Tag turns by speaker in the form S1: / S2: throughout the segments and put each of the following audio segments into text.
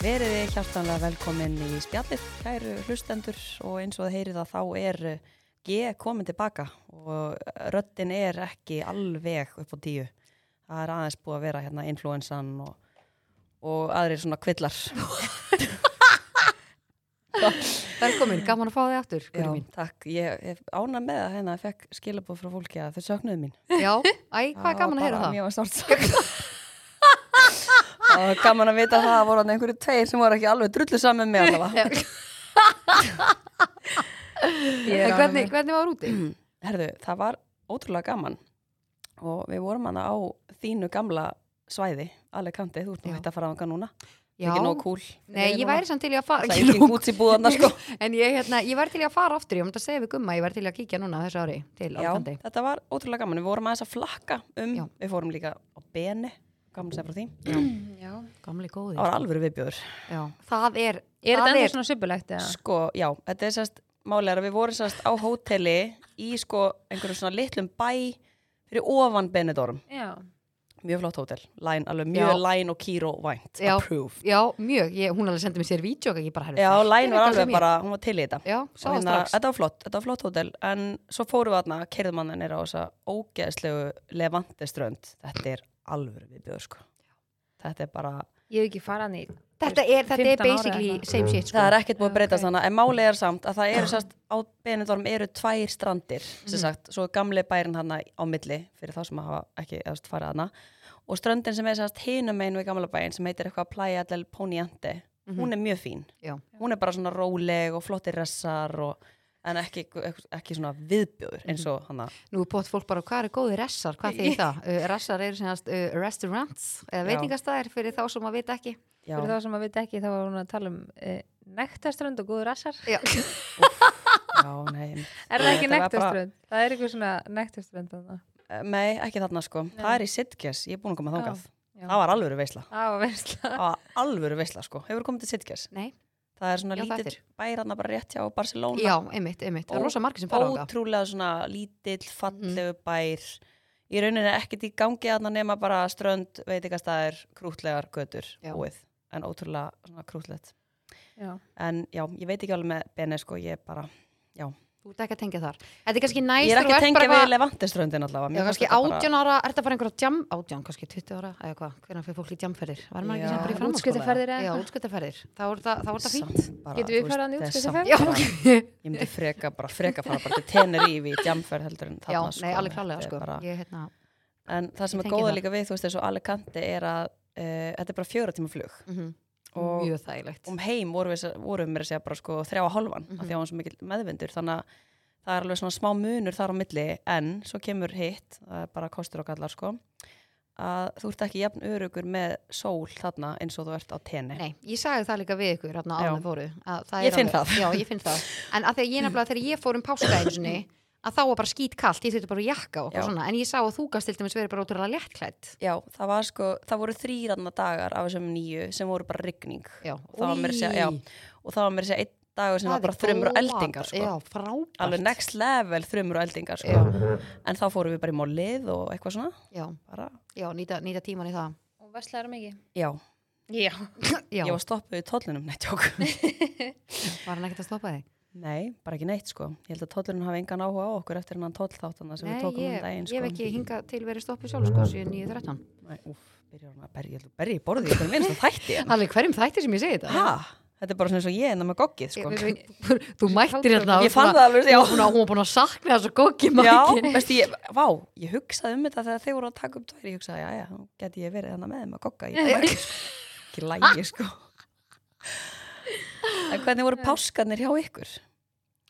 S1: Verið þið hjartanlega velkomin í spjallið, kæru hlustendur og eins og það heyrið að þá er eh, G komin tilbaka og röddin er ekki alveg upp á tíu. Það er aðeins búið að vera hérna influensan og, og aðrir svona kvillar.
S2: Velkomin, gaman að fá þig aftur,
S1: Já,
S2: Guri mín.
S1: takk. Ég, ég ána með að hérna, ég fekk skilabóð frá fólki að þau söknuðu mín.
S2: Já, æ, hvað er
S1: Já,
S2: gaman að heyra
S1: bara
S2: það?
S1: Mjög sárt sagt. Það var gaman að vita það að voru þarna einhverju tveir sem voru ekki alveg drullu saman með allavega. Ég er
S2: En hvernig, hvernig var úti?
S1: Herðu, það var ótrúlega gaman og við vorum hana á þínu gamla svæði, Alicante, þú ert nú
S2: Já.
S1: hægt að fara á hana núna,
S2: Já,
S1: ekki nóg kúl.
S2: nei, ég væri samt til í að
S1: Það
S2: fara,
S1: er
S2: ekki
S1: ekki
S2: nóg,
S1: gúts í búðarna, sko.
S2: en ég, hérna, ég væri til í að fara aftur, ég myndi að segja við gumma, ég væri til í að kíkja núna þessu ári til
S1: Já,
S2: Alkandi.
S1: þetta var ótrúlega gaman, við vorum aðeins að flakka um,
S2: Já.
S1: við fórum líka á Bene, gaman sem frá því.
S3: Já.
S2: Gamli góði.
S1: Það var alveg viðbjöður.
S2: Já, það er,
S3: Er þetta
S2: það
S3: ennþá svona subbulegt eða?
S1: Sko, já, þetta er sérst málega að við vorum sérst á hóteli í sko einhverjum svona litlum bæ fyrir ofan Benidorm.
S3: Já.
S1: Mjög flott hótel, læn, alveg mjög
S2: Já.
S1: læn og kýr og vænt,
S2: Já.
S1: approved.
S2: Já, mjög, ég, hún alveg sendi mér sér vídeo, ég bara herði
S1: Já,
S2: það.
S1: læn var
S2: er eitthvað
S1: alveg
S2: sem ég-
S1: bara, hún var til í þetta.
S2: Já,
S1: Og
S2: sá það
S1: hérna,
S2: strax.
S1: Þetta var flott, þetta var flott hótel, en svo fórum við aðna, kerðum hann nýra á þessa ógeðslegu levante strönd. Þetta er alvöru við bjóður, sko. Þetta er bara,
S3: Ég hef ekki farað í
S2: Þetta er, þetta er
S3: 15 ára eða
S2: basically
S3: eitthvað.
S2: same shit, sko.
S1: það er ekkert búið að
S3: Já,
S1: breytast
S3: ok.
S1: þannig, en málið er samt að það eru sérst, á Benidorm eru tvær strandir,
S2: Mm.
S1: sem sagt, svo er gamli bærin hann á milli, fyrir þá sem hafa ekki eðast farið hana, og ströndin sem er sérst hinum einu við gamla bæin, sem heitir eitthvað Playa del Poniente,
S2: Mhm.
S1: hún er mjög fín.
S2: Já,
S1: hún er bara svona róleg og flottir ressar og, en ekki, ekki svona viðbjóður eins og hann að
S2: nú er bótt fólk bara, hvað eru góði ressar, hvað þýðir það? Uh, ressar eru sem sagt uh, restaurants eða
S1: Já.
S2: veitingastæðir fyrir þá sem að vita ekki.
S1: já,
S3: Fyrir þá sem að vita ekki þá var hún að tala um e, nektaströnd og góður assar.
S2: Já.
S1: já, nei,
S3: Er það ekki
S1: Þetta var bara-
S3: nektaströnd? Það er eitthvað svona nektaströnd þannig.
S1: nei, ekki þarna sko það er í Sitges, ég er búin að koma þákað
S3: Já.
S1: það var alvöru veisla,
S3: Það var versla.
S1: það var alvöru veisla sko hefur komið til Sitges,
S2: Nei,
S1: það er svona
S2: Já, það
S1: lítill bær hann bara rétt hjá Barcelona
S2: já, einmitt, einmitt. Það
S1: Ó-
S2: er rosa margir sem fara á það.
S1: ótrúlega svona lítill, fallegu bær í rauninni ekkert í gangi þarna nema bara strönd, veitingastæðir krútlegar götur,
S2: Já.
S1: búið en ótrúlega svona krútlegt
S3: Já.
S1: en já, ég veit ekki alveg með Bene sko, ég bara
S2: Þú ert ekki að tengja þar. Þetta er kannski næst.
S1: Ég er ekki að tengja við
S2: bara,
S1: Levanteströndin allavega.
S2: Já, kannski átján ára, er þetta bara einhverja jam, átján, kannski 20 ára, eða hvað, hvernig fyrir fólk í jamferðir? Var maður
S1: Já.
S2: ekki sem bara í framhaldsskóla?
S3: Útskriftarferðir
S2: Já,
S3: eða eitthvað?
S2: útskrittaferðir. Þá er það, þá er það fínt.
S1: Bara,
S3: Getum við
S1: þú
S3: farið
S1: veist,
S3: þarna í
S1: þetta er
S3: útskriftarferð?
S2: Já,
S1: samt bara-
S2: ok.
S1: Ég myndi freka bara, freka fara bara til Tenerife í jamferð heldur en
S2: Já,
S1: þarna.
S2: nei, alveg
S1: þetta
S2: klálega,
S1: er
S2: sko.
S1: bara-
S2: Ég, hérna,
S1: En það sem er
S2: Ég tengi
S1: góða
S2: það.
S1: líka við, þú veist, eins og Alicante er að uh, þetta er bara fjóra tíma flug.
S2: mhm,
S1: Og
S2: mjög þægilegt.
S1: um heim vorum við, vorum við mér að segja bara sko þrjá og halvan
S2: Mhm.
S1: af því að hún er svo mikill meðvindur þannig að það er alveg svona smá munur þar á milli en svo kemur hitt, það er bara kostur og gallar sko að þú ert ekki jafn örugur með sól þarna eins og þú ert á tenni
S2: Nei, ég sagði það líka við ykkur hérna
S1: Já.
S2: áðan við fóru. að það
S1: Ég
S2: er
S1: finn
S2: alveg-
S1: það.
S2: Já, ég finn það. En að því að ég nefnilega þegar ég fór um páskaeinsunni, að þá var bara skít kallt, ég þurfti bara að jakka
S1: Já.
S2: og eitthvað svona. En ég sá að þú gast til dæmis verið bara ótrúlega léttklætt.
S1: Já, það var sko, það voru þrýranna dagar af þessum nýju sem voru bara rigning
S2: Já.
S1: og það var mér að segja, já,
S2: Í.
S1: og það var mér að segja einn dagur sem var
S2: Það er
S1: bara þrumur og
S2: góð
S1: eldingar
S2: matur.
S1: sko.
S2: Já, frábært.
S1: alveg next level þrumur og eldingar sko. en þá fórum við bara í mólið og eitthvað svona
S2: Já,
S1: bara,
S2: já nýta, nýta tíman í það.
S3: Og verslar mikið.
S1: já,
S3: Já.
S2: Já,
S1: ég var stoppuð í tóllinum nettjók
S2: var hann ekkert að stoppa þig?
S1: Nei, bara ekki neitt sko. Ég held að tóllurinn hafi engan áhuga á okkur eftir hennan tóllþáttana sem við
S2: Nei,
S1: tókum
S2: ég,
S1: hann daginn
S2: ég
S1: sko.
S2: hef ekki hingað til verið stoppuð sjálf sko, síðan 9.13.
S1: Nei, úf, byrjar hann að berja, ég held að berja í borðið, ég finnst að þætti hann.
S2: Allir hverjum þætti sem ég segi þetta?
S1: Hæ? Þetta er bara svona eins og ég en það með goggið sko.
S2: Ég- ég- ég- Þú mættir hérna.
S1: Ég fann það alveg, já.
S2: Hún var búin að sakna þessu góki
S1: Já,
S2: mæti.
S1: veistu, ég, vá, ég hugsaði um þetta þegar þeir voru að taka upp tvær, ég hugsaði, já, já, geti ég verið þannig með þeim að gogga, ég var ekki, ekki lægi, sko. En hvernig voru páskarnir hjá ykkur?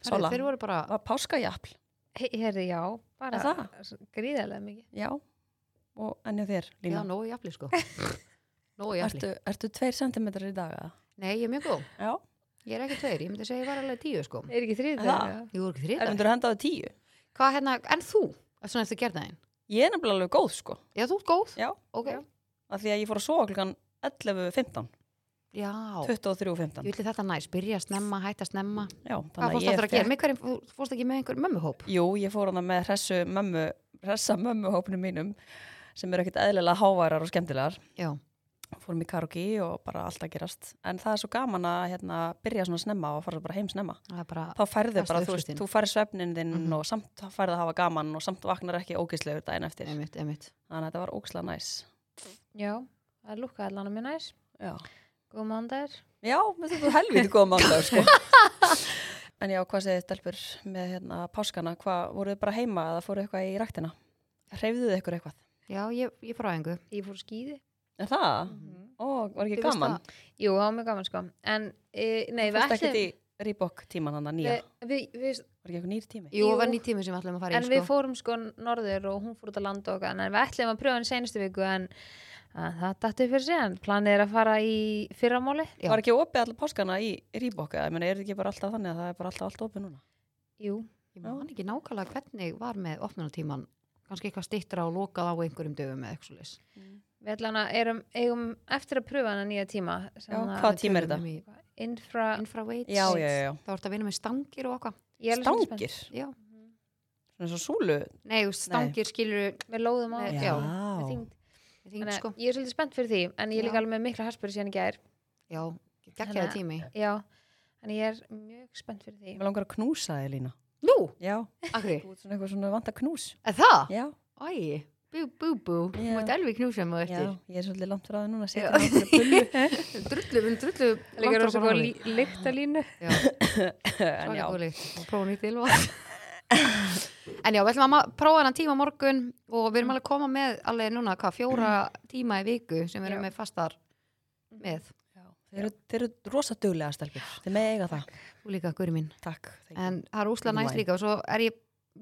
S1: Sola,
S2: Þeir voru bara
S1: var páskajafl,
S3: Herði, já. Bara
S1: Er það?
S3: s- gríðarlega mikið.
S1: já, og ennjá þér,
S2: Já,
S1: Lína.
S2: nógu jafnli sko Nógu jafnli
S1: Ertu, ertu tveir sentimetrar í daga?
S2: Nei, ég er mjög góð,
S1: Já.
S2: ég er ekki tveir, ég myndi segja ég var alveg tíu sko
S3: Er ekki þrýður?
S1: Er það?
S2: Ég voru ekki
S1: Er
S2: þrýta
S1: myndur að henda á það tíu?
S2: Hvað hérna, en þú? Að Svona eftir gerðnaðin
S1: Ég er nefnilega alveg góð sko,
S2: Já, þú ert góð
S1: Já.
S2: Ok.
S3: Já.
S1: af því að ég fór að sofa klukkan 11.15,
S2: Já.
S1: 23.15
S2: Ég vil þetta næst, byrja að snemma, hætta að snemma
S1: Já, þannig
S2: Hvað
S1: að
S2: fórst
S1: ég
S2: eftir að gera? Með hverjum, þú fórst ekki með einhver mömmuhóp?
S1: Jú, ég fór hana með hressu mömmu, hressa mömmuhópnum mínum sem eru ekkert eðlilega háværar og skemmtilegar
S2: Já,
S1: fórum í karaoke og bara allt að gerast en það er svo gaman að hérna, byrja svona snemma og fara bara heim snemma
S2: það er bara
S1: þá færðu
S2: Fastu
S1: bara, þú veist,
S2: uppskriftin.
S1: þú færðu svefnin þinn
S2: Mhm.
S1: og samt færðu að hafa gaman og samt vaknar ekki ógeðslegur daginn eftir
S2: einmitt, einmitt.
S1: þannig að þetta var ógeðslega næs
S3: Já, það lúkka allan að mér næs.
S1: Já,
S3: Góð mándagur.
S1: já þetta var helviti góða mándag sko. En já, hvað segið stelpur með hérna, páskana, hvað voruð þið bara heima eða fóruð eitthvað í ræktina? Hreyfðuð þið ykkur eitthvað?
S2: já, ég, ég fór á engu
S3: Ég fór skýði.
S1: Er það? Ó, var ekki gaman?
S3: Jú, það var mjög gaman sko. En, e, nei,
S1: Þú
S3: við
S1: fórst ekkert
S3: ætlum...
S1: í Reebok tíman hann að nýja?
S3: Við, við, við,
S1: Var ekki eitthvað nýr tími?
S2: jú,
S3: Jú.
S2: það var nýtt tími sem við ætlum að fara
S3: en
S2: í
S3: við
S2: sko.
S3: fórum sko norður og hún fór út að landa okkar en við ætlum að pröfa hann senustu viku en að, það dættu fyrir síðan planið er að fara í fyrramáli
S2: Já.
S1: Var ekki opið allar páskana í Reebok? Ég meina, er þetta ekki bara alltaf þannig að það er bara alltaf allt opið núna?
S3: Jú,
S2: ég man ekki nákvæmlega hvernig var með opnunartíman kannski eitthvað stittra og lokað á einhverjum döfum eða eitthvað svoleiðis.
S3: við ætlum að erum, eigum eftir að pröfa hann að nýja tíma sem
S1: Já,
S3: að-
S1: Hvaða tíma er
S2: Við tölum um
S3: Infra,
S2: í Infraweights
S1: Já, já, já, já.
S2: þá ertu að vinna með stangir og okkar
S3: ég er alveg svolítið spennt. Mhm.
S1: Stangir?
S2: já.
S1: Svona svo súlu?
S2: nei, þú veist, stangir skilur
S3: Við lóðum á
S2: Nei,
S3: þetta.
S2: já.
S3: Með þyngd.
S2: þing,
S3: Þannig
S2: sko.
S3: að Ég er svolítið spennt fyrir því en ég er líka
S2: Já.
S3: alveg með mikla harspur síðan í gær
S2: já,
S3: Þannig
S2: geggjaði
S3: að-
S2: tími
S3: Já, en ég er mjög spennt fyrir því
S1: Mér langar að knúsa þig, Lína.
S2: nú,
S1: Já,
S2: akkur,
S1: þú ert svona eitthvað svona vant að knús.
S2: það
S1: Já,
S2: æ, bú, bú, bú
S1: Já.
S2: þú mátt alveg knúsa
S1: já,
S2: mig á eftir
S1: ég er svolítið langt frá það núna að setja hann á fyrir pullu.
S2: drullu, við drullu
S3: Líka
S2: langt
S3: rosa
S2: frá
S3: góð
S2: honum.
S3: lí- lyktalínu
S2: Já.
S1: En já,
S2: Svaka góð lykt. Og prófa nýtt ylva. En já, við ætlum að ma- prófa hennan tíma á morgun og við erum alveg að koma með alveg núna hvað, fjóra tíma í viku sem við erum
S3: Já.
S2: með fastar með
S1: þeir eru, þeir eru rosa duglega stelpur. Þeir með eiga það.
S2: og líka guri mín.
S1: Takk. thank you.
S2: En það er úslega næst
S1: Mine.
S2: líka og svo er ég,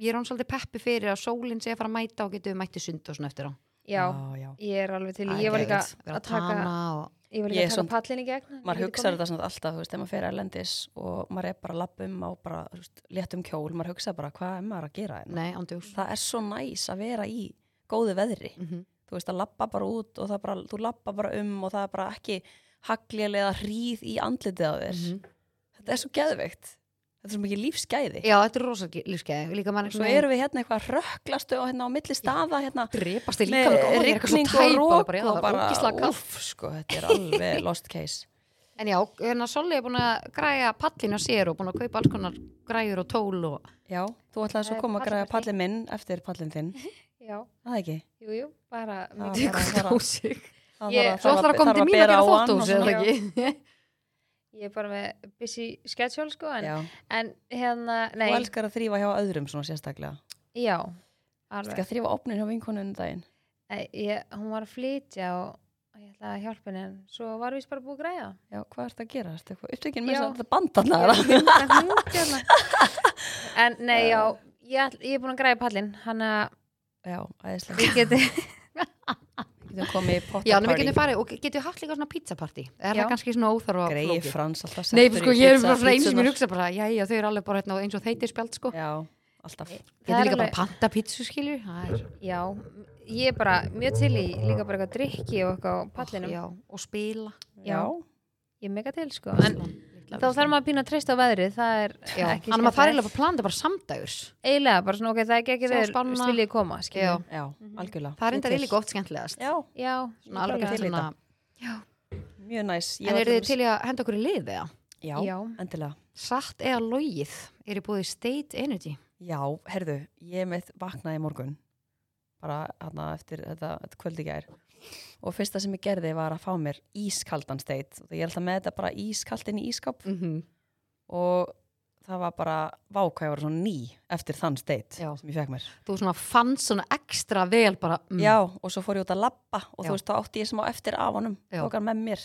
S2: ég er hann svolítið peppi fyrir að sólinn sé að fara að mæta og getum mætti sund og svona eftir á.
S3: Já,
S1: já, já.
S3: ég er alveg til í-
S2: Það er
S3: Ég var líka
S1: geðveikt.
S2: Vera
S3: að
S2: að
S3: taka
S2: tana og...
S3: Ég var
S1: Ég
S3: líka
S1: er
S3: að taka
S1: svona-
S3: pallin í gegn
S1: maður hugsaður þetta svona alltaf, þú veist, ef maður fer erlendis og maður er bara að labba um á bara, þú veist, léttum kjól, maður hugsa bara hvað er maður að gera hérna.
S2: Nei, ándjús.
S1: Það er svo næs að vera í góðu veðri,
S2: Mm -hmm.
S1: þú veist, að labba bara út og það bara, þú labba bara um og það er bara ekki haglilega hríð í andlitið á þér.
S2: Mhm.
S1: Þetta er svo geðveikt. Þetta er svo mikið lífsgæði.
S2: Já, þetta er rosalega lífskeiði. Líka mann
S1: Og svo erum við hérna eitthvað rökklastu og hérna á milli staða hérna
S2: drepast í líka með góð, ég er eitthvað svo
S1: rigning og
S2: tæpa og
S1: rok
S2: bara, já,
S1: og
S2: það var ógislega
S1: bara,
S2: kallt.
S1: uff, sko, þetta er alveg lost case.
S2: En já, hérna Solli er búin að græja pallin á sér og búin að kaupa alls konar græjur og tól og
S1: Já, þú ætlaði svo að
S2: Eh,
S3: Það er
S1: koma að græða
S3: pallpartí.
S1: pallin minn eftir pallin þinn,
S3: Já,
S1: það er ekki?
S3: jú, jú, bara
S1: Það
S3: mikið
S1: var-
S2: tekur
S1: bara-
S2: á sig.
S1: Það
S3: Ég-
S1: þarf
S2: Svo ætlar að koma
S1: þarf
S2: til mín að
S1: bera
S2: gera
S1: á hann og
S2: þóttús,
S1: svona.
S2: eða ekki?
S3: Ég er bara með busy schedule sko en,
S1: Já,
S3: en hérna,
S1: þú
S3: nei,
S1: elskar að þrýfa hjá öðrum svona sérstaklega.
S3: já
S1: Þú
S3: alveg,
S1: elskar að þrýfa opnin hjá vinkonunum daginn.
S3: Nei, ég, hún var að flytja og og ég ætlaði að hjálpa henni en svo var við bara búið að græja
S1: Já, hvað ertu að gera? Ertu eitthvað upptökin með
S3: Já.
S1: þess að þetta bandana?
S3: Ég
S1: eða?
S3: er með hund hérna. En nei, já, ég, ætl, ég er búin að græja pallin hann að
S1: Já, æðislega.
S3: við geti
S1: Við getum komið í
S2: Já, en við
S1: pottaparty.
S2: getum farið og getum haft líka svona pizzapartí. Er
S3: Já.
S2: það kannski svona óþarfa
S1: Greiði
S2: flókið?
S1: frans alltaf
S2: Nei,
S1: settur
S2: sko,
S1: í
S2: ég er
S1: pizza-
S2: bara svona eins sem ég
S1: pizzurnar.
S2: hugsa bara, jæja, þau eru alveg bara hérna og eins og þeitir spjald, sko.
S1: Já, alltaf.
S2: Getum
S3: er
S2: líka bara
S3: alveg-
S2: panta pizzu, skilju. Það er,
S3: Já, ég er bara mjög til í líka bara eitthvað drikki og eitthvað á pallinum
S2: já, og spila.
S1: Já,
S3: Ég er mega til sko en þá þarf maður að pína að treysta á veðrið það er
S2: Já,
S3: ekki
S2: þannig að maður þarf eiginlega bara að plana þetta bara samdægurs.
S3: eiginlega bara svona ok, það er ekki ekki
S2: Sjá
S3: veður
S2: spána.
S3: vil ég koma
S2: Já.
S3: skilur.
S1: já, algjörlega.
S2: Mhm. Það er
S1: Ég
S2: enda
S1: til.
S2: eiginlega oft skemmtilegast.
S1: Já,
S3: já,
S2: Svona alveg
S1: til í
S2: svona,
S1: mjög næs. Ég
S2: en
S1: var
S2: eru þið
S1: dæmis-
S2: til í að henda okkur í lið eða?
S1: Já,
S3: Já.
S1: endilega.
S2: Satt eða logið er í búið State Energy.
S1: Já, herðu, ég mitt vaknaði í morgun bara hana, eftir þetta, þetta kvöldi gær og fyrsta sem ég gerði var að fá mér ískaldan steit og ég er alltaf með þetta bara ískalt inn í ískap
S2: Mm
S3: Mhm.
S2: -hmm.
S1: og það var bara vákvæði var svona ný eftir þann steit
S2: Já.
S1: sem ég fekk mér
S2: Þú svona fann svona ekstra vel bara, mm,
S1: Já, og svo fór ég út að labba og
S2: Já.
S1: þú veist, þá átti ég sem á eftir af honum
S2: Já.
S1: tók hann með mér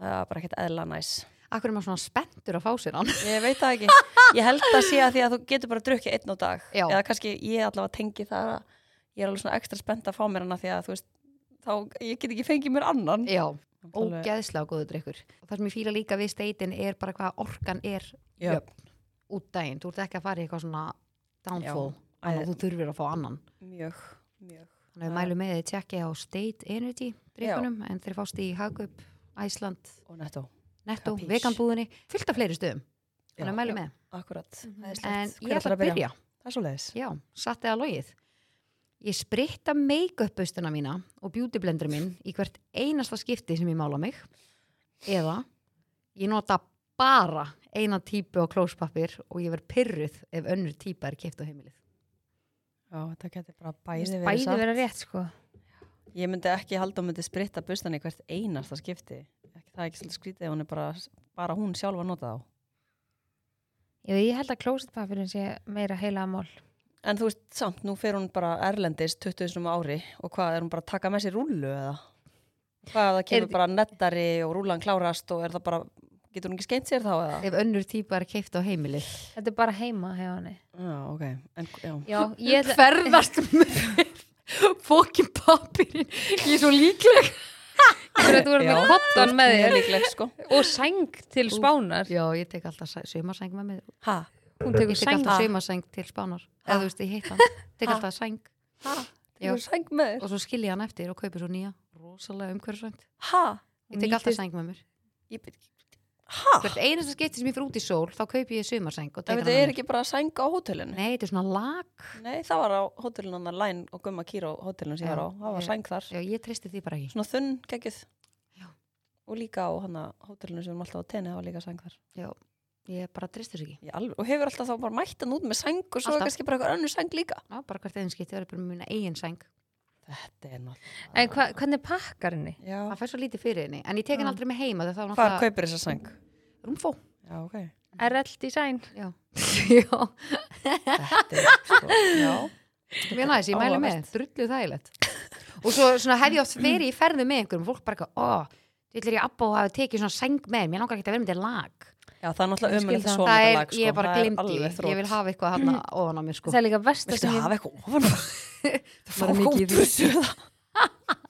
S1: það var bara ekkert eðla næs
S2: akkur er maður svona spenntur að fá sér hann.
S1: Ég veit það ekki, ég held að sé að því að þú getur bara að drukja einn á dag
S2: Já.
S1: eða kannski ég allavega tengi það að ég er alveg svona ekstra spennt að fá mér hana því að þú veist, þá, ég get ekki fengið mér annan
S2: Já,
S1: Alveg-
S2: ógeðslega góður drikkur. Og það sem ég fíla líka við Statein er bara hvað orkan er
S1: Já,
S2: út daginn. Þú ert ekki að fara í eitthvað svona downfall,
S1: Já.
S2: þannig að þú þurfir að fá annan.
S1: mjög, mjög
S2: Þannig að við
S1: Það-
S2: mælum með þið tjekki á State Energy drikkunum, en þeir fást í Hagup, Æsland,
S1: og nettó,
S2: Netto,
S1: Capiche.
S2: veganbúðinni, fullt af fleiri stöðum.
S1: Já.
S2: Þannig að mælum með.
S1: akkurat
S3: Mhm.
S1: Það er
S2: En
S1: slett,
S2: ég
S1: hver
S2: ætla að byrja.
S1: Það er svo leiðis
S2: Já, satt eða logið. Ég spritta make-up bustuna mína og beautyblender minn í hvert einasta skipti sem ég mála mig eða ég nota bara eina típu á klóspapir og ég verð pyrruð ef önnur típa er keipt á heimilið.
S1: Já, þetta getur bara
S3: Mér
S1: bæði
S3: finnst
S1: verið
S3: bæði
S1: satt.
S3: vera rétt sko
S1: Ég myndi ekki halda að myndi spritta bustan í hvert einasta skipti. Ekki, það er ekki svolítið skrítið ef hún er bara, bara hún sjálf að nota þá.
S3: Ég, ég held að klósetpapirinn sé meira heilaða mál
S1: En þú veist, samt, nú fer hún bara erlendis 20 sinum á ári og hvað, er hún bara að taka með sér rúllu eða? Hvað, ef það kemur bara nettari og rúlan klárast og er það bara, getur hún ekki skeint sér þá eða?
S2: Ef önnur típa er keipt á heimilið.
S3: Þetta er bara heima hjá henni
S1: Já, ok, en já.
S3: Já, ég ætla
S2: Ferðast með fokkin papirinn. Ég er svo líkleg.
S3: að þú erum
S1: Já,
S3: með kottan með
S1: Mjög
S3: þér
S1: líkleg, sko.
S3: og söng til spánar
S2: Já, ég tek alltaf sa- saumasæng með mig.
S1: Ha?
S3: Hún
S2: Ég
S3: tekur
S2: tek
S3: söng
S2: alltaf saumasæng til spánar. Eða þú veist, ég heit hann. Tek alltaf sæng
S1: Ha?
S2: Já.
S1: Þú sæng með þér?
S2: og svo skilja hann eftir og kaupi svo nýja. Rosalega umhverfisvænt.
S1: Ha?
S2: Ég tek alltaf sæng með mér.
S1: Ég byrja ekki. Ha?
S2: Hvert einasta skipti sem ég fyrir út í sól, þá kaupi ég saumasæng og tek
S1: Það
S2: hann
S1: veit,
S2: með
S1: er
S2: mér.
S1: ekki bara sæng á hótelinu?
S2: Nei, þetta er svona lag.
S1: Nei, það var á hótelinu hann að Læn og Gumma Kíró hótelinu sem ég
S2: Já,
S1: var á. Það var
S2: ég-
S1: sæng þar.
S2: Já, ég tristi því bara ekki.
S1: Svona þunn, geggjuð.
S2: Já.
S1: Og líka á hann hótelinu sem við erum alltaf á tenni, það var líka sæng þar.
S2: Já, ég bara tristi þessu ekki.
S1: Í alveg, og hefur alltaf þá bara mættan út með sæng og svo
S2: Alltaf.
S1: er kannski bara eitthvað önnur sæng líka
S2: Já, bara hvert einn skipti verður bara með minna eigin sæng.
S1: þetta er náttúrulega
S3: En hva, hvernig pakkar henni?
S1: já,
S2: Það fær svo lítið fyrir henni. En ég tek hann
S3: Já.
S2: aldrei með heima þegar það var
S1: hvað
S2: náttúrulega
S1: kaupir þessa sæng?
S2: rúmfó.
S1: já, ok,
S3: RL Design
S2: Já. Já,
S1: þetta er sko, já,
S2: mjög næst, ég mælu með,
S1: Áhugavert.
S2: drullu þægilegt. Og svo svona hef ég oft verið í ferðu með einhverjum, fólk bara eitthvað, ó, þú ætlir ég abba og hafa tekið svona sæng með, mér langar ekki að vera með þetta lag.
S1: já, það er náttúrulega
S3: Ég skil
S1: umhverfið
S3: það.
S1: svona
S2: það er,
S1: lag, sko.
S2: ég bara
S1: það er
S2: glimti,
S1: alveg
S2: ég vil
S1: þrótt
S2: hafa eitthvað hann ofan á mér, sko.
S3: Það er líka versta
S1: Viltu
S3: sem ég,
S1: hafa eitthvað ofan á það?
S2: Bara
S1: Fá
S2: mikið í því.
S1: góðbussu eða?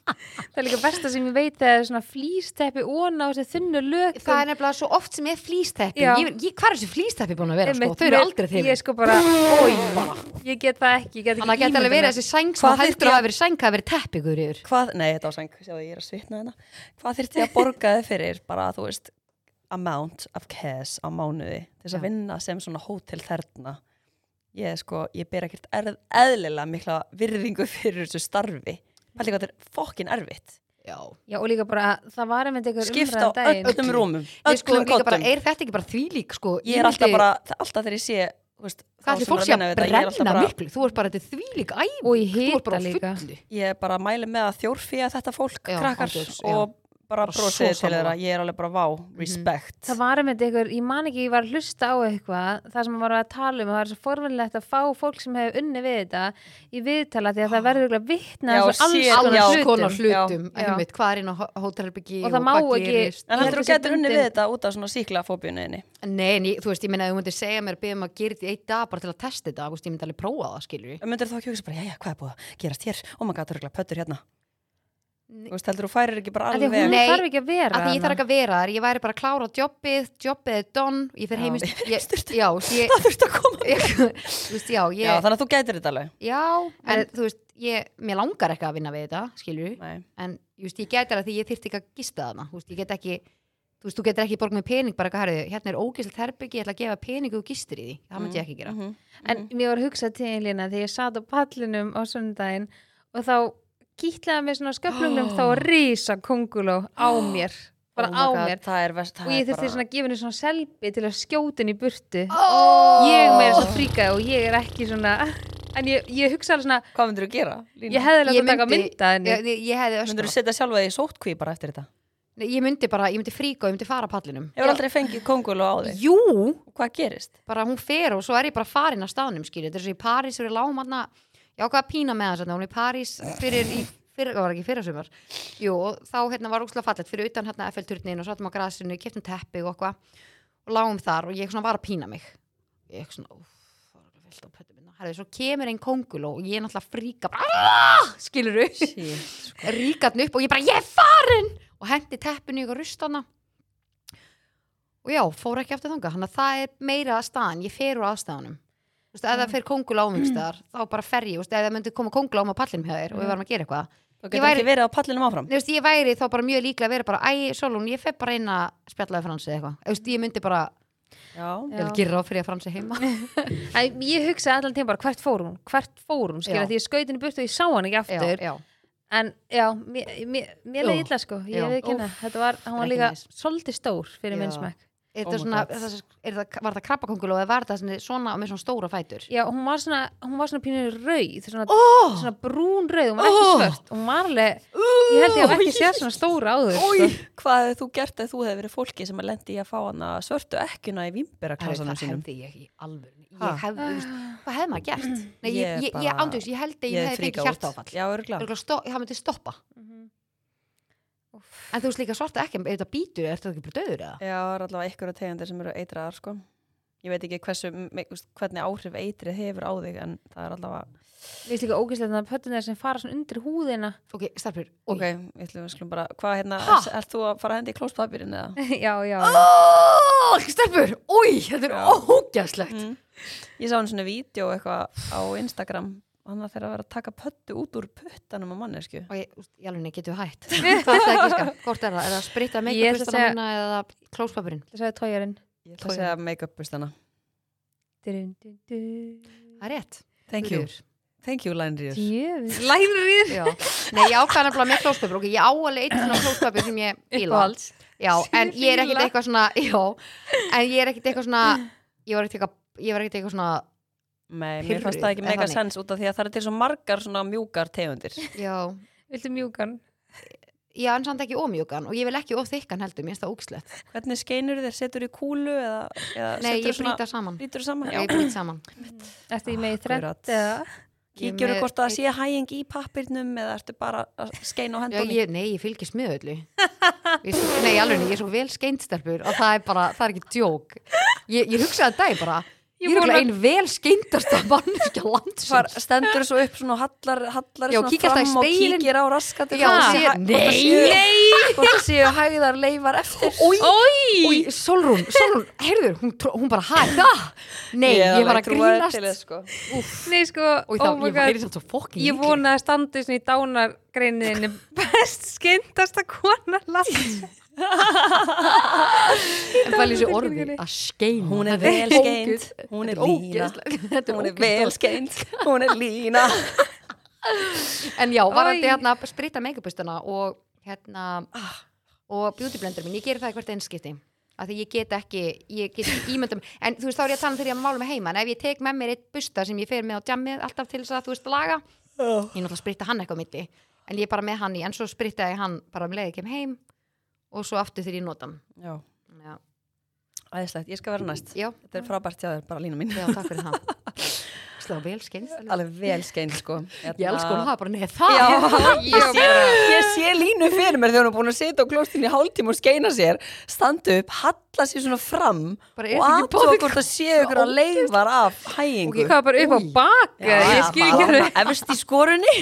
S3: það er líka versta sem ég veit að það er svona flýsteppi ón á þessi þunnu lökum
S2: Það er nefnilega svo oft sem ég er flýsteppi,
S3: Já.
S2: ég, ég, hvað er þessi flýsteppi búin að vera, sko,
S3: Einmitt,
S2: þau eru
S3: mér-
S2: aldrei þeim.
S3: Ég sko bara, oi, ég get það ekki, ég get ekki
S2: Þannig að geta alveg verið
S3: ímyndað mér.
S2: þessi sæng sem
S1: Hvað
S2: þú heldur
S1: þyrfti
S2: að
S1: að-
S2: hafa verið sæng, hafa verið teppigur yfir.
S1: hvað, nei, þetta var sæng, sjáðu, ég er að svitna þetta hvað þyrfti að borga þið fyrir bara, þú veist, amount of cash á mánuði, til þess
S2: Já.
S1: að vinna sem svona hótel þarna ég sko, ég ber ekkert erð, eðlilega mikla virðingu fyrir þessu starfi Pæli hvað þetta er fokkin erfitt
S2: Já.
S3: Já, og líka bara, það var einmitt einhver
S1: Skipta á
S3: umræðan daginn.
S1: öllum rúmum,
S2: Ég sko
S1: öllum
S2: líka bara,
S1: kottum
S2: er þetta ekki bara þvílík, sko?
S1: Ég er alltaf
S2: myndi-
S1: bara, alltaf þegar ég sé þú veist, þá
S2: Hvað ætlir
S1: sem
S2: fólk
S1: er
S2: sé
S1: vinna
S2: að
S1: við þetta, ég er alltaf
S2: brenna
S1: bara-
S2: miklu? Þú ert bara þetta er þvílík æg
S3: Og í
S2: Þú ert bara á
S3: hita líka.
S2: fullu
S1: Ég er bara að mæli með að þjórfía þetta fólk,
S2: Já,
S1: krakkar
S2: ángjörs, já.
S1: og bara
S2: Bara svo
S1: brosið til
S2: sammála. Mhm.
S1: þeirra, ég er alveg bara vá, respect
S3: Það var einmitt einhver, ég man ekki, ég var að hlusta á eitthvað, það sem var að tala um, og það er svo forvinnilegt að fá fólk sem hefur unni við þetta í viðtala því að það verður eitthvað vitna
S1: Já,
S3: að þessu
S1: sér-
S3: alls
S1: já.
S2: Alls
S3: konar hlutum.
S2: konar
S1: Já,
S2: hlutum
S3: já.
S2: einmitt, Hvað er inn á hó- hótelherbyggi
S3: Og það má
S2: hvað
S3: ekki-
S2: gerist?
S1: En
S3: Ég
S1: heldur
S3: held
S1: þú
S3: þessi
S1: getur unni við
S3: bundin-
S1: þetta út af svona síklafóbjunniðinni?
S2: Nei, en ég, þú veist, ég meina, ef þú myndir segja mér að beða maður að gera þetta í eitt dag bara til að testa þetta, þú veist, ég myndi alveg prófa það, skilur við
S1: Myndir þá ekki hugsa bara, jæja, hvað er búið að gerast hér? Oh Og maður gætur regla pöttur hérna.
S2: Nei.
S1: Þú veist, heldur þú færir ekki bara
S3: Af Því
S1: alveg?
S3: að hún
S2: Nei,
S3: þarf ekki að vera
S2: Af því ég þarf ekki að vera þar, ég væri bara að klára jobbið, jobbið er done, ég
S1: Já,
S2: fer heimist
S1: ég fer
S2: ég-
S1: heimstur.
S2: Já, ég,
S1: Það þurft að koma.
S2: ég, þú veist, já,
S1: Já,
S2: ég,
S1: þannig að þú gætir þetta alveg.
S2: já, en þú veist, ég, mér langar ekki að vinna við þetta, skilur við,
S1: Nei.
S2: en just, ég gæti alveg því ég þyrfti ekki að gista þarna þú veist, ég get ekki þú veist, þú getur ekki borgað með pening bara herri, hérna er ógislegt herbyggi, ég ætla að gefa peningu og gistir í því, það myndi ég ekki gera
S1: Mhm.
S3: En mér var að hugsa til einn lína því ég satt á pallinum á sundaginn og þá kýtlaði mig svona á sköflungnum þá rísa konguló á mér, bara
S1: Oh my
S3: á
S1: God,
S3: mér.
S1: Það er verst. það
S3: Og ég
S1: er
S3: þurfti
S1: bara-
S3: svona að gefa henni svona selbi til að skjóta henni í burtu.
S2: oh!
S3: Ég með þess að fríkaði og ég er ekki svona, en ég, ég hugsa alveg svona,
S1: Hvað myndir þú gera?
S3: ég hefði
S2: Ég
S3: alveg að taka
S2: myndi-
S3: mynda henni.
S2: ég, ég, ég hefði
S1: Myndir
S2: öskra
S1: þú setja sjálfa þig í sótkví bara eftir þetta?
S2: Nei, ég myndi bara, ég myndi fríka og ég myndi fara af pallinum
S1: Hefur aldrei fengið kongul á þig?
S2: jú,
S1: Og Hvað gerist?
S2: bara hún fer og svo er ég bara farin að staðnum skilju, þetta er svo í París fyrir lámanna ég ákvað að pína með þess að hún er í París fyrir í fyrir, það var ekki fyrir sumar jú, og þá hérna var úkslega fallet fyrir utan hérna FL-turnin og sattum á grasinu, keftum teppi og okkur og lágum þar og ég svona var að pína mig ég svona, uff, það var alveg velt á pöttu minna herði, svo kemur einn kongul og ég er náttúrulega fríka bara, skilur upp
S1: Shit.
S2: ríkarn upp og ég bara, ég er farin og hendi teppinu ykkur rustana og já, fór ekki aftur þangað þannig að það er meira staðan, ég fer úr aðstæðanum Þú veist, ef það fer kongul ámengstaðar þá bara fer ég, þú veist, ef það myndi koma kongul ám á pallinum hjá þér og við varum að gera eitthvað
S1: Þú
S2: Ég
S1: getur
S2: væri-
S1: ekki verið á pallinum áfram.
S2: Nei, þú veist, ég væri þá bara mjög líklega að vera bara æ, Solon, ég fer bara inn að spjallaði fransi eitthvað Þú veist, ég myndi bara,
S1: já,
S2: Ég vil gera ráð fyrir að fransi heima
S3: Æ, ég hugsaði allan tíma bara hvert fór hún hvert fór hún, skilja,
S2: Já.
S3: því ég skaut henni burt og ég sá hann ekki
S2: Já,
S3: aftur
S2: já,
S3: en já, mér, mér, mér
S2: Ú,
S3: leiði illa sko ég
S2: já.
S3: veit ekki henni, þetta var, hann
S2: Það er
S3: var
S2: ekki
S3: líka
S2: næs.
S3: svolítið stór fyrir
S1: Já.
S3: minn smekk
S2: Er
S1: Oh
S2: þetta
S1: my
S2: svona,
S1: God.
S2: er það, er það, var það krabbakonguló eða var það svona, svona með svona stóra fætur?
S3: já, hún var svona, hún var svona pínur rauð svona,
S1: oh,
S3: svona brún rauð, hún var ekki
S1: Ó.
S3: svört hún var alveg, ég held ég að ekki séð svona stóra áður sko.
S1: hvað hefur þú gert að þú hefur verið fólki sem að lendi í að fá hana svörtu ekkuna í
S2: Það,
S1: vimberaklassanum um
S2: það
S1: sínum
S2: hefði ég í alvöru
S1: Ha? Mm.
S2: Ég hefði, þú veist, hvað hefði maður gert? Nei, ég,
S1: Ég
S2: ég, ég,
S1: bara-
S2: ándjóks, ég held að ég, hefði
S1: fríka
S2: fengið hjartáfall
S1: já, örgulega
S2: Örugglega stó- Það myndi stoppa
S3: Mhm.
S2: En þú veist líka svarta ekki, ef þetta býtur, er þetta ekki bara döður eða?
S1: já, það er allavega einhverja tegundir sem eru eitraðar sko. ég veit ekki hversu, me- þú veist, hvernig áhrif eitrið hefur á þig en það er allavega
S3: Mér finnst líka ógæslega þannig að pötun þeir sem fara svona undir húðina
S2: Ok, starfur,
S1: ok, ég ætlum við skulum bara hvað hérna,
S2: Ha?
S1: er, er þú að fara að hendi í klóspapirinn eða?
S3: já, já,
S2: Oh, stelpur, új, þetta er
S1: Já.
S2: ógæslegt
S1: Mm. Ég sá hann svona vídeo eitthvað á Instagram hann var þegar að vera að taka pöttu út úr puttanum á mannesku
S2: Og ég, úst, ég alveg neitt getur hætt Það er ekki, sko, hvort er það, er það að spritta
S3: Ég ætla að
S2: meikapustana
S3: segja-
S2: mína eða klóspapirinn
S3: það sagði tójarinn
S1: Ég ætla að segja make-up bustana
S2: Það er rétt,
S1: Thank you,
S2: Guðríður.
S1: thank you Lænriður
S3: Djöfis
S2: Lænrið Já, nei ég ákvæða nefnilega með klóspapir ok, ég á alveg eitt svona klóspapir sem ég bíla
S3: Uppáhalds.
S2: Já, en ég er ekkit
S3: Fíla.
S2: eitthvað svona Já, en ég er ekkit eitthvað svona Ég var ekkit eitthvað, ég var ekkit eitthvað svona
S1: Nei, mér
S2: Pirruð,
S1: fannst það ekki
S2: er
S1: mega
S2: þannig.
S1: sens út af því að það er til svo margar svona mjúkar tegundir
S2: Já,
S3: Viltu mjúkan?
S2: já en samt ekki ómjúkan og ég vil ekki óþykkan heldur, mér finnst það ógslegt
S1: Hvernig skeinur þér, setur í kúlu eða, eða
S2: Nei, ég
S1: setur
S2: brýta saman
S1: Brýtur saman,
S2: Já, ég
S1: já
S2: brýt saman
S3: Eftir ég megi
S1: Akkurat.
S3: þrætt eða
S1: Kíkjur
S2: Ég með-
S1: hvort að það sé hæging í pappirnum eða ertu bara að skeina á
S2: Já,
S1: hendunni
S2: ég, nei, ég fylgist með öllu ég, er svo- Nei, alveg, ég er svo vel skeindstelpur og það er bara, það er ekki djók Ég, ég hugsaði þetta dag bara Ég
S3: Ég
S2: er
S3: vona-
S2: ekki ein vel skeindasta manneskja landsins
S1: Hvar stendur svo upp svona og hallar, hallar
S2: Já,
S1: svona
S2: kíkir alltaf í
S1: fram og
S2: speilin.
S1: kíkir á raskatið
S2: Já,
S1: hvort það sé
S2: sér-
S1: hæ- hvort það
S2: Nei,
S1: séu- Hvort það séu hægðar leifar eftir
S2: Ói, ói, Solrún, Solrún, heyrður, hún, tró- hún bara hæði það Nei, ég, var að grínast
S1: sko.
S3: Nei sko,
S2: Og þá,
S3: oh my
S2: ég var
S3: god
S2: heyrðið svo fokkin
S3: Ég vona að standi svona í dánargreiniðinni best skyndasta kona lands
S2: En það lýsi orðið
S3: tilfinningunni.
S2: að skeina
S1: Hún er
S2: Þetta
S1: vel skeind,
S2: ógeð-
S1: hún er lína
S2: þetta ógeðslegt. Þetta
S1: Hún er
S2: ógeðslegt.
S1: vel skeind, hún er lína
S2: En já, varandi
S3: Oj.
S2: hérna að spritta make-upustana og hérna og beauty blender minn, ég geri það í hvert einskipti af því ég get ekki, ég get ekki ímyndum en þú veist þá er ég að tala um þegar ég mála með heima en ef ég tek með mér eitt busta sem ég fer með á jammið alltaf til þess að þú veist laga
S1: Já.
S2: ég náttúrulega spritta hann eitthvað á milli en ég er bara með hann í, en svo spritta ég hann bara um leiði kem heim og svo aftur þegar ég nota hann
S1: Já,
S2: já,
S1: æðislegt, ég skal vera næst
S2: já,
S1: Þetta er frábært hjá þér, bara lína mín
S2: já takk fyrir það slá vel Ah. skynst
S1: Alveg vel skeind, sko
S2: ég elsku hún
S1: Hérna-
S2: hafa bara neð það
S1: Já, ég sé, ég sé línu fyrir mér þegar hún er búin að sitja á klóstinu í hálftíma og skeina sér, standa upp, halla sér svona fram
S2: Bara er
S1: og
S2: þetta ekki
S1: aðtóa
S2: boðið?
S1: hvort það séu ykkur að leifar af hægingu.
S3: Hvað bara upp á
S2: Új.
S3: baka
S1: Já,
S3: Ég
S1: já,
S3: skil
S1: bara
S3: ekki
S1: þarna Efst í skorunni.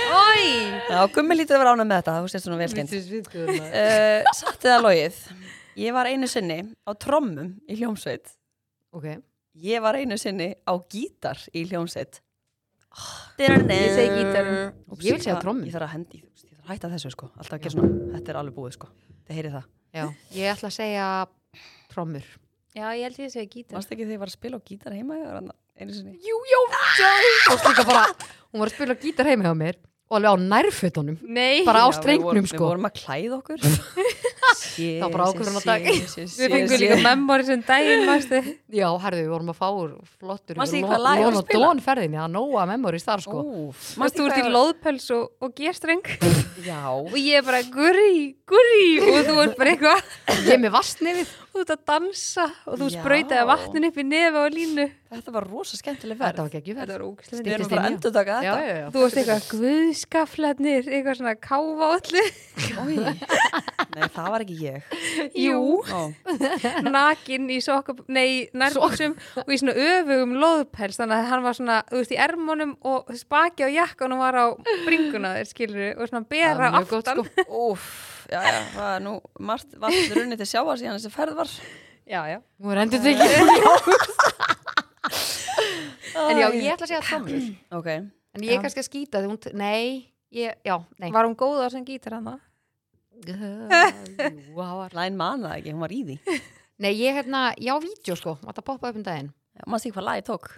S3: alveg
S1: Já, gummi lítið að vera ánað með þetta, þú sér svona vel skeind.
S2: Ói!
S1: Uh, satt eða logið. Ég var einu sinni á trommum í hljómsveit.
S2: ok,
S1: Ég var einu sinni á gítar í hljómsveit.
S3: Ég segi gítarum.
S1: Úps,
S2: Ég vil segja
S1: það-
S2: trommum.
S1: Ég þarf að hendi, ég þarf að hætta þessu sko. Alltaf að gera svona, þetta er alveg búið sko. Þið heyrið það.
S2: já, ég ætla að segja trommur
S3: Já, ég held ég að segja gítar
S1: Varst ekki þegar ég var að spila á gítar heima hjá hann einu sinni?
S2: jú, já, já og slíka bara, hún var að spila gítar heima hjá mér og alveg á nærfötunum
S3: Nei,
S2: bara á
S1: Já, við
S2: strengnum
S1: vorum- Við
S2: sko
S1: vorum að klæða okkur.
S2: Það var bara ákvörðun á dag.
S3: við fengum líka memóri sem daginn mástu
S2: já, herðu, við vorum að fá úr flottur
S1: Manstu í
S2: yfir
S1: hvaða lag ég var að
S2: Lon og
S1: spila?
S2: Don ferðinni, það er nóa memories þar sko
S1: Mást
S3: Mástu úr til loðpels og, og gerstreng
S1: Já,
S3: og ég bara gurri, gurri og þú ert bara eitthvað
S2: ég er með vastnefið,
S3: og þú ert að dansa og þú
S1: Já.
S3: sprautaði vatnin upp í nefa og línu
S1: þetta var rosa skemmtileg
S2: þetta
S1: verð.
S2: var ekki verð
S3: var
S2: Stig-
S3: ógæslega
S1: Við erum
S2: Styttist í
S1: bara að
S2: mjög.
S1: endur taka
S2: já,
S1: þetta. sko.
S2: já, já
S3: Þú varst eitthvað guðskaflarnir, eitthvað svona kávállu,
S1: Oj. Nei, það var ekki ég.
S3: jú,
S1: Ó,
S3: nakin í sokkum, nei, nærbuksum og í svona öfugum loðpels, þannig að hann var svona, þú veist, í ermónum og spaki á jakkanum var á bringuna þér, skilur og svona
S2: Það
S3: bera
S2: var mjög gott,
S3: aftan.
S2: sko.
S1: úf, já, já, það er nú margt vatn runni til sjáa síðan þessi ferð var.
S3: Já, já.
S2: Nú er endur tekið En já, ég ætla að segja trommur
S1: Ok,
S2: En ég
S1: Já.
S2: er kannski að skýta því hún, nei, ég, já, nei
S3: Var hún góð á sem gítar hann það?
S2: Jú, það var-
S1: Læn man það ekki, hún var í því
S2: Nei, ég hérna, já, vídeo sko, þetta poppaði upp um daginn
S1: Mást ekki hvað lagið tók?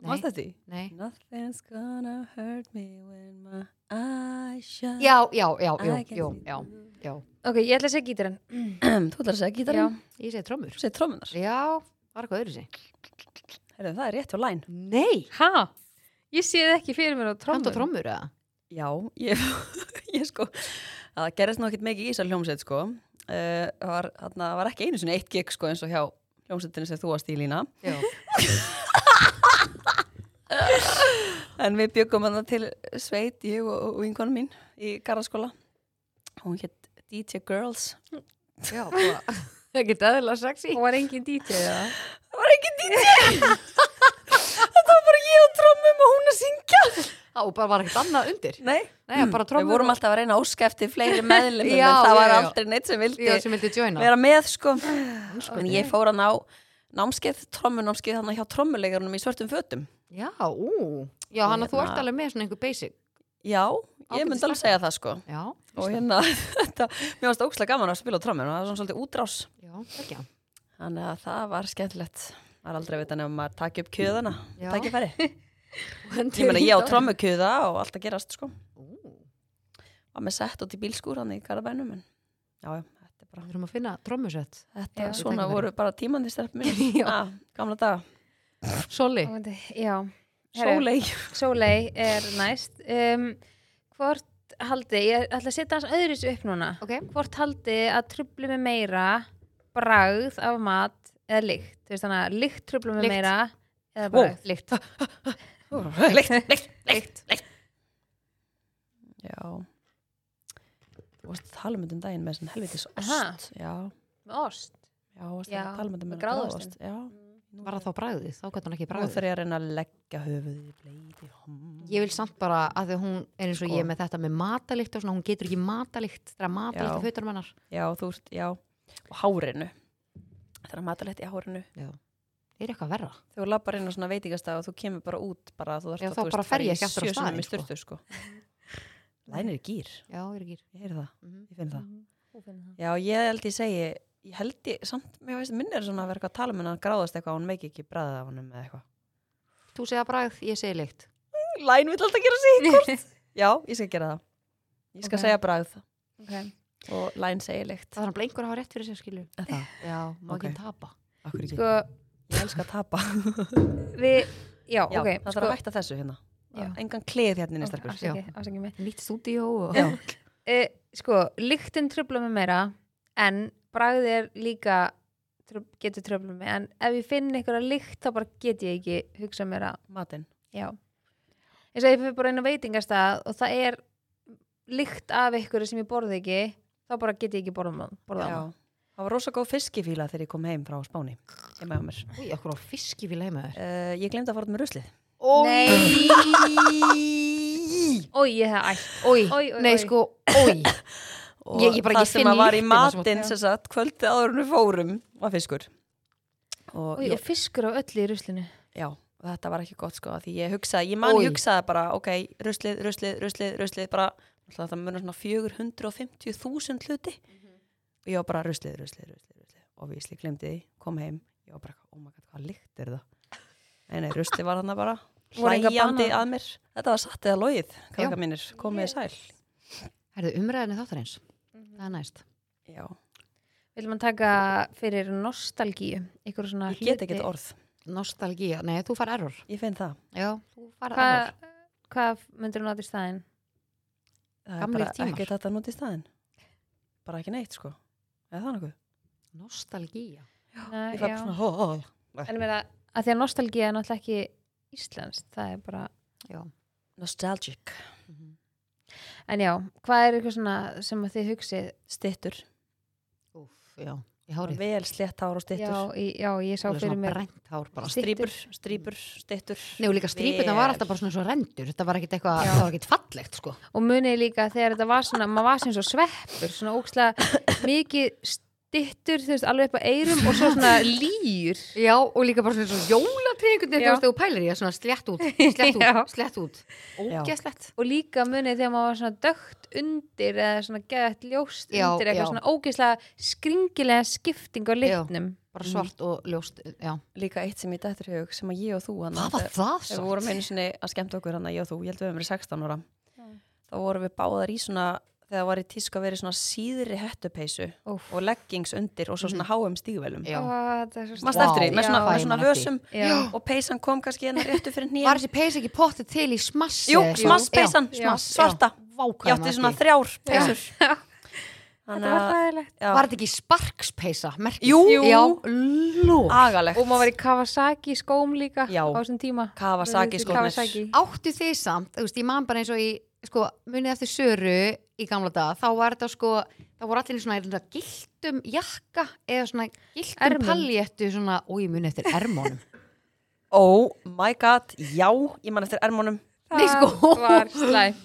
S1: Mást
S2: Nei,
S1: þetta því?
S2: nei
S1: Nothing's gonna hurt me when my eyes shut
S2: Já, já,
S1: I
S2: já, jú,
S1: can
S2: jú,
S1: see
S2: já, já
S3: Ok, ég ætla að segja gítarinn.
S1: Þú ætlar að segja
S2: Já,
S1: gítarinn?
S2: ég segi trommur
S1: Þú segir trómunar
S2: Já, var eitthvað öðru sig
S1: Herðu, það er rétt hjá læn
S2: Nei,
S3: Hæ? Ég sé það ekki fyrir mér á trommum.
S2: kanntu trommur eða?
S1: Já, ég, ég sko Það gerðist nú ekkert mikið í þessar hljómsveit sko uh, Það var, þarna, það var ekki einu sinni eitt gig sko eins og hjá hljómsveitinu sem þú varst í lína
S2: Já,
S1: En við byggum hann til sveit, ég og, og vinkonu mín í garðaskóla. Hún hétt DJ Girls.
S2: já, bara Ekki dæðilega sexy
S3: Og var engin DJ eða?
S1: Það var ekki DJ! Þetta var bara ég og trommum og hún að syngja.
S2: Já, og bara var ekkert annað undir
S1: Nei,
S2: Nei, bara trommur
S1: við vorum
S2: og-
S1: alltaf að reyna að óska eftir fleiri meðlum
S2: Já,
S1: en það var
S2: já, já.
S1: aldrei neitt sem vildi
S2: Já, sem vildi joina
S1: vera með sko. En ég fór að ná námskeið, trommunámskeið þannig hjá trommuleikarunum í svörtum fötum.
S2: Já, ú Já, hann að þú
S1: Hérna.
S2: ert alveg með svona einhver basic
S1: Já, ég
S2: Ágætis
S1: myndi alveg
S2: stelpa.
S1: segja það sko.
S2: Já,
S1: Og hérna, þetta, mér varst ókslega gaman að spila á tromminu og það var svona svolítið útrás.
S2: já, ekki
S1: Þannig að það var skemmtilegt. Það er aldrei að vita nefnum maður takja upp kjöðana.
S2: Já.
S1: Takja færi. Ég meina ég á trommukjöða og allt að gerast sko.
S2: Við
S1: Var með sett út í bílskúr hann í Garabænum. En já, já, þetta er bara.
S2: þurfum að finna trommusett
S1: Þetta
S3: Já.
S1: svona
S2: Tækifæri.
S1: voru bara tímandi stelpum minn.
S2: Já.
S1: Ah, gamla daga.
S2: Solli
S3: Ég myndi- Já. Herru,
S1: Sólei.
S3: Sóley er næst. Um, hvort haldið, ég ætla að setja hans öðris upp núna.
S2: Ok,
S3: Hvort haldið að trublu með meira bragð af mat eða lykt? Þú veist þannig að lykt trublu með
S2: Lykt.
S3: meira eða
S1: Vó.
S3: bragð? Lykt.
S1: Leikt, leikt, leikt, leikt. Já. Þú varst að tala um þetta um daginn með svona helvitis
S3: Aha.
S1: ost. Já,
S3: Með ost.
S1: já, þú varst
S3: Já,
S1: að tala um þetta
S3: með
S1: með hana
S3: gráðostinn.
S1: Já.
S2: var það þá bragðið, þá gæti hann ekki
S1: Nú
S2: bragðið
S1: þarf ég að reyna að leggja höfuðið í bleiti. Hmm.
S2: Ég vil samt bara að því að hún er eins og
S1: Sko.
S2: ég með þetta með matalikt og svona, hún getur ekki matalikt það er matalikt
S1: Já.
S2: að fötunum hennar
S1: Já, þú ert, já, og hárinu. Það er matalegt í hárinu.
S2: er eitthvað verra
S1: Þú lappar inn á svona veitingastað og þú kemur bara út bara þú þarft
S2: Já,
S1: að,
S2: þá
S1: þú veist,
S2: bara fer
S1: fara
S2: ég
S1: í
S2: ekki aftur á
S1: sjö sinnum
S2: staðinn,
S1: í sturtu, sko. Lænir í gýr,
S2: Já, ég er ekki
S1: ég Mhm. heyri það,
S2: mm
S1: ég finn það.
S3: Þú finnur það.
S1: Já, ég held ég segi, ég held ég, samt, mér veist, minn er svona að vera eitthvað að tala um henni að gráðast eitthvað, hún meiki ekki bræðið af honum eða eitthvað.
S2: Þú segja bragð, ég segi likt
S1: Læn vil alltaf gera sig hvort. Já, ég skal gera það. Ég skal
S3: Ok.
S1: segja bræðið
S3: Okay.
S1: og læn segi leikt.
S2: Það er bara einhver að hafa rétt fyrir sér skilu
S1: Er Það,
S2: Já, má
S1: Ok.
S2: ekki tapa
S1: akkur ekki.
S3: Sko,
S1: Ég elska að tapa.
S3: við, já,
S1: Já,
S3: ok. sko.
S1: það þarf að hætta þessu hérna.
S3: Já.
S1: Engan kleð hérna inn í stelpur.
S3: Afsakið, afsakið mig.
S2: Nýtt stúdíó og...
S1: Já.
S3: Uh, sko, lyktin trubla með meira en bragðið er líka trub, getur trubla með en ef ég finn einhverja lykt þá bara get ég ekki hugsa mér að,
S1: Matinn.
S3: já eins og ef ég bara inn á veitingastað og það er lykt af einhverju sem ég borði ekki þá bara get ég ekki borða borðað
S1: Já,
S3: hana.
S1: það var rosa góð fiskifíla þegar ég kom heim frá Spáni heima hjá mér.
S2: Új, okkur á fiski við leimaður
S1: Uh, ég glemdi að fara út með ruslið.
S2: Nei
S3: Ói, ég hef ætt
S2: Ói,
S3: Oj, oj,
S2: nei
S3: oj.
S2: sko, ói
S1: Og
S2: Ég- ég bara-
S1: það
S2: ég
S1: sem
S2: finn
S1: að var í
S2: lyktina sem-
S1: matinn, sem sagt, kvöldi áður en við fórum, var fiskur. Og,
S3: Ói,
S1: ég,
S3: og fiskur á öllu í ruslinu
S1: já, og þetta var ekki gott sko, því ég hugsaði, ég man
S2: Oj.
S1: ég hugsaði bara, ok, ruslið, ruslið, ruslið, ruslið, bara, alltaf það muna svona 450.000 hluti.
S2: Mhm.
S1: Og ég var bara ruslið, ruslið, ruslið, ruslið. Og við slið glemdi því, kom heim, ég var bara, oh my god, hvað lykt er það? Nei, nei, ruslið var hann bara
S3: Voru engar
S1: hlægjandi
S3: banan-
S1: að mér. Þetta var satt eða logið,
S2: Já.
S1: krakka mínir, komið yes. sæl.
S2: Herðu umræðinu þáttar eins Það er næst
S1: Já,
S3: vil maður taka fyrir nostalgíu ykkur svona
S1: ég get ekki þetta orð,
S2: Nostalgía, nei þú far error
S1: ég finn það.
S2: Já, þú far error
S3: hvað hva myndir hún átt í staðinn?
S1: Það
S2: Gamlir
S1: er bara
S2: tímar.
S1: ekki þetta nút í staðin. Bara ekki neitt, sko. Eða það nokkuð?
S2: Nostalgía
S3: Nei,
S1: Ég fæ
S3: já.
S1: bara svona, hó, hó,
S3: En ég meina, að því að nostalgía er náttúrulega ekki íslenskt, það er bara
S2: Já
S1: nostalgic.
S3: En já, hvað er eitthvað svona sem að þið hugsið?
S1: Stittur.
S2: Úf, já, í hárið
S1: Vel slett hár og
S3: Já,
S1: stittur.
S3: í, já, ég sá
S2: Alveg
S3: fyrir
S2: svona
S3: mér
S2: brengt hár bara
S3: Styttur.
S1: Strípur, strípur, stittur.
S2: Nei og líka strípurna var alltaf bara svona svo rendur Þetta var ekkit eitthvað,
S3: Já.
S2: það var ekkit fallegt sko
S3: og munið líka þegar þetta var svona, maður var sem svo sveppur, svona ókslega mikið dittur, þú veist, alveg upp á eyrum og svo svona lýr
S2: Já, og líka bara svona svona jólatryggundi
S3: Já.
S2: þegar þú pælir í það svona slett út, slett
S3: Já.
S2: út, slett út. Ógeðslegt.
S3: og líka munið þegar maður var svona dögt undir eða svona geðat ljóst
S2: Já, já.
S3: undir eitthvað svona ógeðslega skringilega skipting á litnum
S2: Bara svart og ljóst, já.
S1: Líka eitt sem ég dættur hug sem að ég og þú hann eh,
S2: Hvað var það
S1: Við
S2: svo?
S1: vorum einu sinni að skemmta okkur hann að ég og þú, ég held við höfum verið 16 ára.
S3: Já.
S1: Þá vorum við báðar í svona, þegar það var í tísku að vera í svona síðri hettupeysu
S3: Óf.
S1: og leggings undir og svo svona háum stígvelum.
S2: Já.
S1: Mast
S2: Vá,
S1: eftir því, með svona,
S2: Mhm. já.
S1: með svona
S2: Ég man eftir.
S1: vösum
S3: Já.
S1: og peysan kom kannski hérna réttu fyrir nýja.
S2: Var þessi peysa ekki pottið til í smassi?
S1: Jú, smasspeysan,
S3: Já.
S1: smass, svarta. Ég átti svona þrjár peysur.
S3: Þetta
S1: Þannig
S3: var
S1: að,
S3: þægilegt
S1: já,
S2: Var þetta ekki sparkspeysa? merkið?
S1: Jú. Jú.
S2: Já, lóf.
S1: agalegt.
S3: og maður var í Kawasaki skóm líka
S1: Já.
S3: á þessum tíma
S1: Kawasaki
S3: Við- við-
S1: skórnir.
S3: Kawasaki.
S2: Áttu þið samt, þú veist, ég man bara eins og í, sko, munið eftir Söru í gamla daga, þá var þetta sko, þá voru allir í svona, svona giltum jakka eða svona giltum
S3: Ermum.
S2: paljettu svona, og ég munið eftir ermónum.
S1: Oh my god, já, ég man eftir ermónum.
S2: Nei, sko.
S3: Það var slæm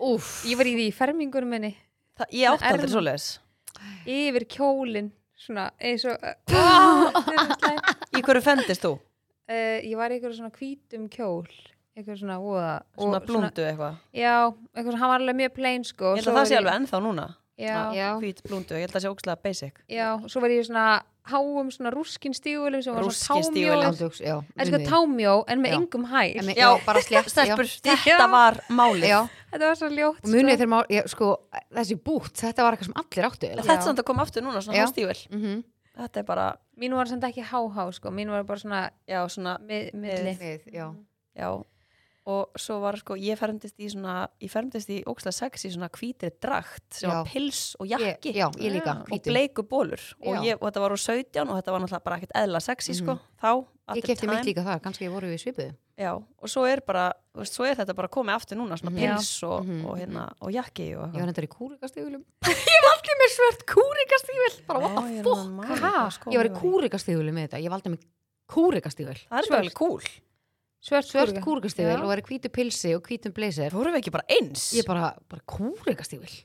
S2: Úf,
S3: Ég var í því í fermingunum minni
S1: Það, ég átti aldrei
S3: erm-
S1: svoleiðis.
S3: yfir kjólinn svona eins og uh, uh,
S1: Í hverju fendist þú?
S3: Eh, ég var í einhverju svona hvítum kjól einhverju svona voða
S1: Svona
S3: og
S1: blúndu eitthvað.
S3: já, einhverju svona, hann var alveg mjög plain sko og
S1: Ég held
S3: svo
S1: að það
S3: var
S1: sé
S3: ég-
S1: alveg ennþá núna.
S3: já,
S2: já,
S1: hvít blúndu, ég held að það sé ógslag basic
S3: já, svo var ég í svona háum svona rúskin stígulum sem var
S1: Rúskin
S3: svona támjó
S1: stígvélum.
S2: ándjóks, já.
S3: en sko
S2: munið.
S3: támjó en
S2: Já.
S3: með engum
S2: En
S3: hæl
S2: með- Já, bara slétt.
S1: Stelpur,
S2: já.
S1: þetta var málið
S2: Já,
S3: þetta var svo ljótt
S2: og munið
S3: sko.
S2: þegar maður, já, sko, þessi bút, þetta var eitthvað sem allir áttu.
S1: En
S2: eiginlega.
S1: Þetta er samt að koma aftur núna, svona
S2: Já.
S1: hástível
S2: Mhm.
S1: Þetta er bara,
S3: mín var samt ekki háhá sko mín var bara svona
S1: já, svona
S3: mið, milli
S2: Við, já.
S1: já. Og svo var sko, ég fermdist í svona Ég fermdist í ógslag sexi svona hvítri drakt sem
S2: Já.
S1: var pils og jakki
S2: Ég, já, ég líka,
S3: Já.
S1: og
S2: hvítu.
S1: bleiku bólur og,
S2: Já. Mhm.
S1: ég, og þetta var úr 17 og þetta var náttúrulega bara ekkert eðla sexi sko, þá at
S2: Ég
S1: the
S2: kefti mitt
S1: time.
S2: líka þar, kannski voru við svipuðu.
S1: já, og svo er bara, þú veist, svo er þetta bara komið aftur núna, svona
S2: Mhm.
S1: pils og,
S2: Mhm,
S1: og, hérna, og jakki og
S2: Ég var hendur í kúrikastígulum. ég var allir með svört kúrikastígul. Bara, what the fuck?
S1: sko,
S3: sko,
S2: Ég var í kúrikastígulum með þetta. Ég valdi með kúrikastígul.
S1: Það er vel cool
S3: svört,
S2: Svört
S3: kúrika.
S2: kúrikastígul
S3: Já.
S2: og var í hvítu pilsi og hvítum blazer.
S1: Vorum við ekki bara eins?
S2: Ég bara, bara kúrikastígul.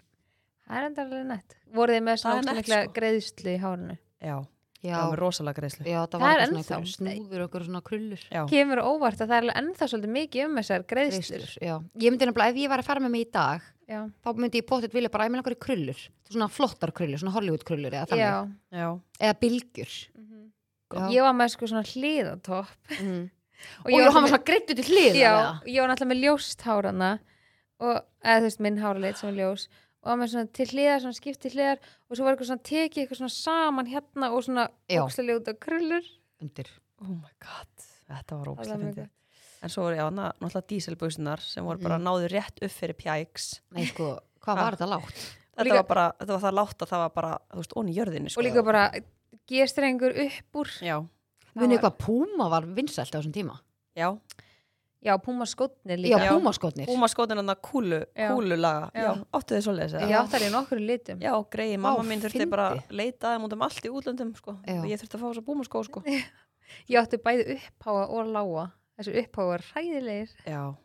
S3: það er enda alveg nett voruð þið
S1: Það
S3: með
S1: er
S3: svona
S1: nett,
S3: mikla
S1: sko.
S3: greiðsli í hárinu
S1: Já,
S2: Já,
S1: það var rosalega greiðslu.
S2: já það
S3: Það
S2: var
S3: er
S2: eitthvað
S3: ennþá.
S2: svona einhverjum snúður og eitthvað svona krullur.
S1: Já.
S3: kemur á óvart að það er alveg ennþá svolítið mikið um þessar greiðslur
S2: Greiðslur, já. Ég myndi nefnilega, ef ég var að fara með mig í dag,
S3: já,
S2: þá myndi ég pottet vilja bara, ég með einhverju krullur. Svona flottar krullur, svona Hollywood krullur eða
S3: já.
S2: þannig.
S1: Já.
S2: Eða bylgjur. Já.
S3: ég var með sko svona hliðatopp
S2: Mhm.
S3: og,
S2: Og ég var svona greittu til hliða.
S3: já,
S2: eða?
S3: ég var náttúrulega með ljóst hárana og, eða þú veist, minn háraleit sem er ljós og var með svona til hliðar, svona skipt til hliðar og svo var eitthvað svona tekið eitthvað svona saman hérna og svona
S2: Já.
S3: ókslaljóta krullur
S2: Undir.
S1: Oh my god, þetta var
S3: Það
S1: ógæslega
S3: var mjög
S1: fyndið. En svo voru, já, na, náttúrulega díselbusunar sem voru
S3: Mm.
S1: bara náðu rétt upp fyrir pjæks.
S2: Nei, sko, hvað var þetta lágt?
S1: Þetta
S3: líka-
S1: var bara, þetta var það látt að það var bara, þú veist, onni í jörðinni, sko.
S3: og líka bara gestrengur upp úr
S1: Já,
S2: Munið hvað Puma var vinsælt á þessum tíma?
S1: já.
S3: já, púma skotni
S2: Já,
S3: líka
S1: Já.
S2: Puma skotnir.
S1: Húma skotin hann að kúlu,
S3: Já.
S1: kúlulaga.
S3: Já.
S1: Já. áttu þið svoleiðis
S3: já,
S1: eða?
S3: það er í nokkru litum
S1: Já, greiði, mamma mín þurfti
S2: fyndið.
S1: bara að leita þeim út um allt í útlöndum, sko.
S2: Já.
S1: Og ég þurfti að fá þess að búma skó, sko.
S3: ég átti bæði uppháa og lága þessu uppháa var hræðilegir
S1: Já.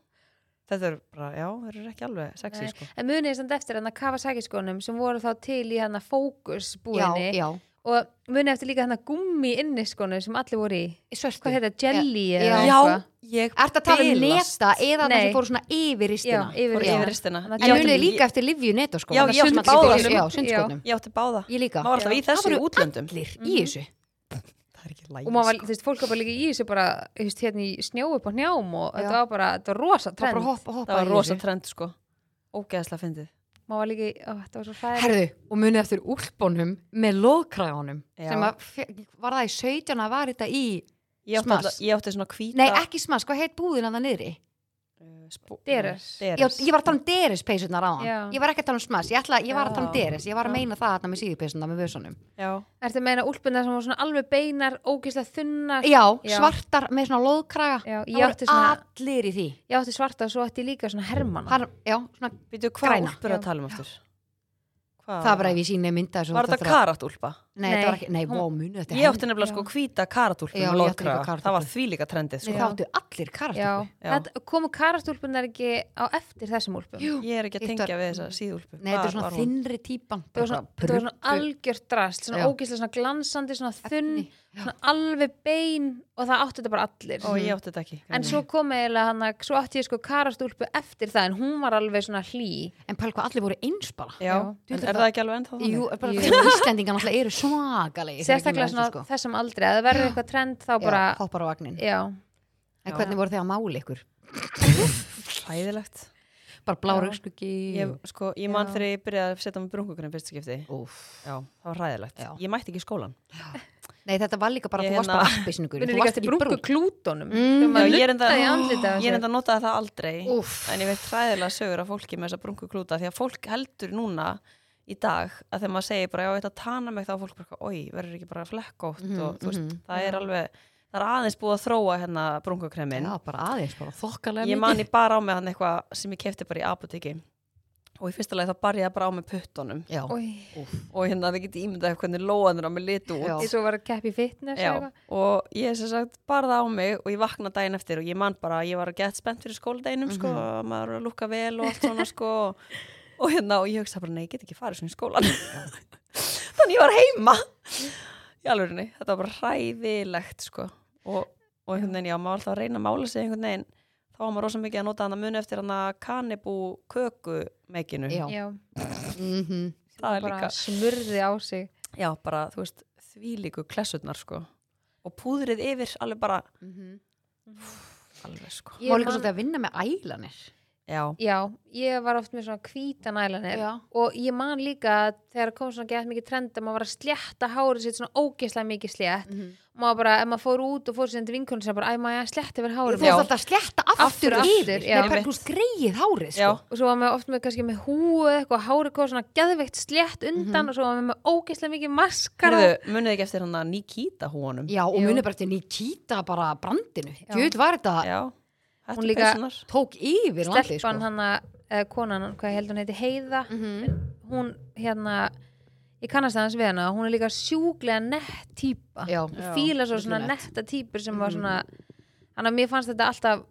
S1: Þetta er bara, já, þeir eru ekki alveg sexy,
S3: Nei.
S1: sko.
S3: en munið samt eftir hann að Kawasaki skónum sem voru þá til í hann að fókus
S2: Já,
S3: búinni
S2: já.
S3: og munið eftir líka hann að gummi inniskónum sem allir voru í
S2: Svörtu.
S3: hvað heita, jelly
S2: Já.
S3: eða
S1: Já,
S3: eitthvað
S1: ég
S2: Ertu að tala um
S1: bilast.
S2: neta eða það
S3: Nei.
S2: sem fóru svona yfir
S3: Já,
S2: ristina?
S3: yfir
S1: Fór
S2: Já.
S1: yfir ristina.
S3: Þannig að-
S2: En
S1: Ég átti-
S2: munið líka eftir Livju neta sko?
S1: Já,
S2: þarna
S1: ég átti
S2: sundmaðk-
S1: báðar.
S2: Já, sundskotnum.
S1: Ég átti báða.
S2: Ég líka.
S1: Maður var alltaf í þessu
S2: Það
S1: í
S2: voru
S1: útlöndum.
S2: Allir í þessu.
S1: Það er ekki
S3: og maður var,
S1: lægis.
S3: þú veist, fólk var bara líka í þessu bara, þú veist, hérna í snjó upp á hnjám og
S2: Já.
S3: þetta var bara, þetta var rosa
S2: Það var
S3: Mm. trend
S2: bara hoppa, hoppa
S1: Það var
S2: í
S1: rosa
S2: þessu.
S1: trend sko. Ógeðslega fyndið.
S3: maður var líka, í- ó, þetta var svo hræðilegt
S2: Herðu, og munið eftir úlpunum með loðkræðunum
S1: Já.
S2: sem að, fe- var það í 17 að var þetta í
S1: Ég átti,
S2: Smass.
S1: alltaf, ég átti svona hvíta... Eh,
S2: Nei, ekki smask, hvað heit búðin að það niðri?
S1: ekki.
S3: Deres.
S2: Já, ég var að tala um Deres peysunar á
S3: Já.
S2: Ég var ekki að tala um smask, ég, ætla, ég var að tala um
S1: Já.
S2: Deres Ég var að
S3: Já.
S2: meina það þarna með síðupeysunar með vösunum
S1: Já.
S3: ertu að meina úlpunna sem var svona alveg beinar ógislega þunnar
S2: Já,
S3: Já.
S2: svartar með svona loðkraga
S3: Já, ég
S2: Það
S3: átti
S2: voru
S3: svona-
S2: allir í því
S3: ég átti svarta og svo átti ég líka svona hermana
S2: Hann, Já, svona
S1: Býtu, hvað
S2: Græna.
S1: úlpur er
S3: Já.
S1: að tala um aftur? Hvað
S2: það er bara ef ég síni mynda þessu
S1: Var þetta karatúlpa?
S2: Nei,
S3: Nei.
S2: þetta var ekki, nei, vó, muni þetta
S1: Ég átti nefnilega sko hvíta karatúlpu með
S2: Já, ég átti líka
S1: loðkraga.
S2: karatúlpu.
S1: Það var því líka trendið
S2: Nei,
S1: sko.
S2: það áttu allir
S3: Já,
S2: karatúlpu
S1: Já.
S3: Þetta- komu karastúlpunar ekki á eftir þessum úlpum
S2: Jú.
S1: Ég er ekki að
S2: Hitt
S1: tengja
S2: var-
S1: við þessa síðúlpu.
S2: Nei, þetta er svona þinnri típan
S3: það var svona, það var svona algjört drast svona
S2: Já.
S3: ógeðslega svona glansandi, svona þunn
S2: Efni, já.
S3: svona alveg bein og það átti þetta bara allir
S1: Og ég átti þetta ekki.
S3: en svo kom eiginlega hann að svo átti ég sko karastúlpu eftir það en hún var alveg svona hlý
S2: En pæl hvað allir voru eins bara
S1: Já,
S2: Þú
S1: en
S2: veist
S1: er það ekki alveg ennþá þannig?
S2: Jú, er bara þegar Íslendingan alltaf eru svakalegi
S3: sérstaklega svona
S1: sko.
S3: þessum aldrei að það verður eitthvað trend þá bara,
S2: bara sko. Hoppar á vagnin
S3: já,
S1: Já.
S2: En hvernig voru þið að máli ykkur?
S1: Hræðilegt.
S2: Bara blá raukskuggi
S1: Ég, sko, ég man
S3: Já.
S1: þegar ég byrjaði að setja með brúnkukurinn fyrst skipti.
S2: Úff
S1: Já, það var hræðilegt.
S2: Já.
S1: Ég mætti ekki í skólan.
S2: Nei, þetta var líka bara,
S1: Ég
S2: þú varst
S1: hérna-
S2: bara appisningur
S3: við erum líka eftir brúnku klútonum
S2: Mm.
S3: þegar maður
S1: Já, ég er
S3: nuttaði í
S1: enda-
S3: andlitið á
S1: Ég er
S3: sér.
S1: enda að notaði það aldrei.
S2: Úff.
S1: En ég veit hræðilega sögur af fólki með þessa brúnkuklúta því að fólk heldur núna í dag að þegar maður segir bara já, þetta tana mig þá er fólk bara, oi, verður ekki bara flekkótt
S2: Mhm,
S1: og þú veist, það er alveg það er aðeins búið að þróa hérna brúnkukremin
S2: Já, bara aðeins, bara þokkalega
S1: ég man ég bara á mig hann eitthvað sem ég kefti bara í apoteki og í fyrsta lagi þá bar ég það bara á mig puttunum
S2: Já,
S3: Oj.
S1: og hérna þið getið ímyndað hvernig lóanur á mig litu út
S2: Já.
S3: Ég svo var að keppa í fitness
S1: Já,
S3: eða eitthvað.
S1: og ég sem sagt barða á mig og ég vakna daginn eftir og ég man bara að ég var að gett spennt fyrir skóladeginum sko,
S3: Mhm.
S1: og maður var að lukka vel og allt svona sko og hérna og ég hugsa bara nei, ég get ekki farið svona í skólan þannig ég var heima í alvörinni, þetta var bara hræðilegt sko og, og einhvern veginn já, maður var alltaf að reyna að mála sig einhvern veginn þá var maður rosa mikið að nota hann að muni eftir hann að kanibú köku meikinu
S2: já
S3: Já,
S2: mhm.
S1: það er
S3: bara
S1: líka,
S3: smurði á sig
S1: já bara þú veist þvílíku klessurnar sko og púðrið yfir alveg bara
S2: Mhm.
S1: alveg sko
S3: Ég
S2: Má líka
S3: man-
S2: svolítið að vinna með ælanir
S1: Já,
S3: Já, ég var oft með svona hvítan ælanir
S2: Já.
S3: og ég man líka að þegar kom svona gett mikið trend að maður var að slétta hárið sitt svona ógeðslega mikið slétt maður bara, ef maður fór út og fór sér til vinkunum sem bara, æ maður ég slétti verið
S2: Þú
S3: hárið
S2: veist
S1: Já.
S2: alltaf að sletta aftur,
S3: Aftur, aftur,
S2: yfir
S3: já.
S2: Nei, pæl, þú skreið hárið, sko
S1: já,
S3: og svo var maður oft með kannski með húu eða eitthvað, hárið kom svona geðveikt slétt undan
S1: Mhm.
S3: og svo var maður með ógeðslega mikið maskara
S1: hérðu, munið ekki eftir hann að Nikita húnum
S2: Já, og
S3: Jú.
S2: munið bara eftir Nikita bara brandinu Jöld var þetta,
S1: já þetta
S3: Hún
S1: er
S3: líka-
S1: peysunar
S2: tók yfir landið, sko
S3: stelpan hann að konan, hvað ég held hún heiti Heiða
S2: Mhm.
S1: Mm.
S3: hún hérna ég kannast aðeins við hana, hún er líka sjúklega nett típa
S2: Já.
S3: Ég
S1: Já,
S3: fíla svo svona
S2: virkilega nett.
S3: netta típur sem var svona hann að mér fannst þetta alltaf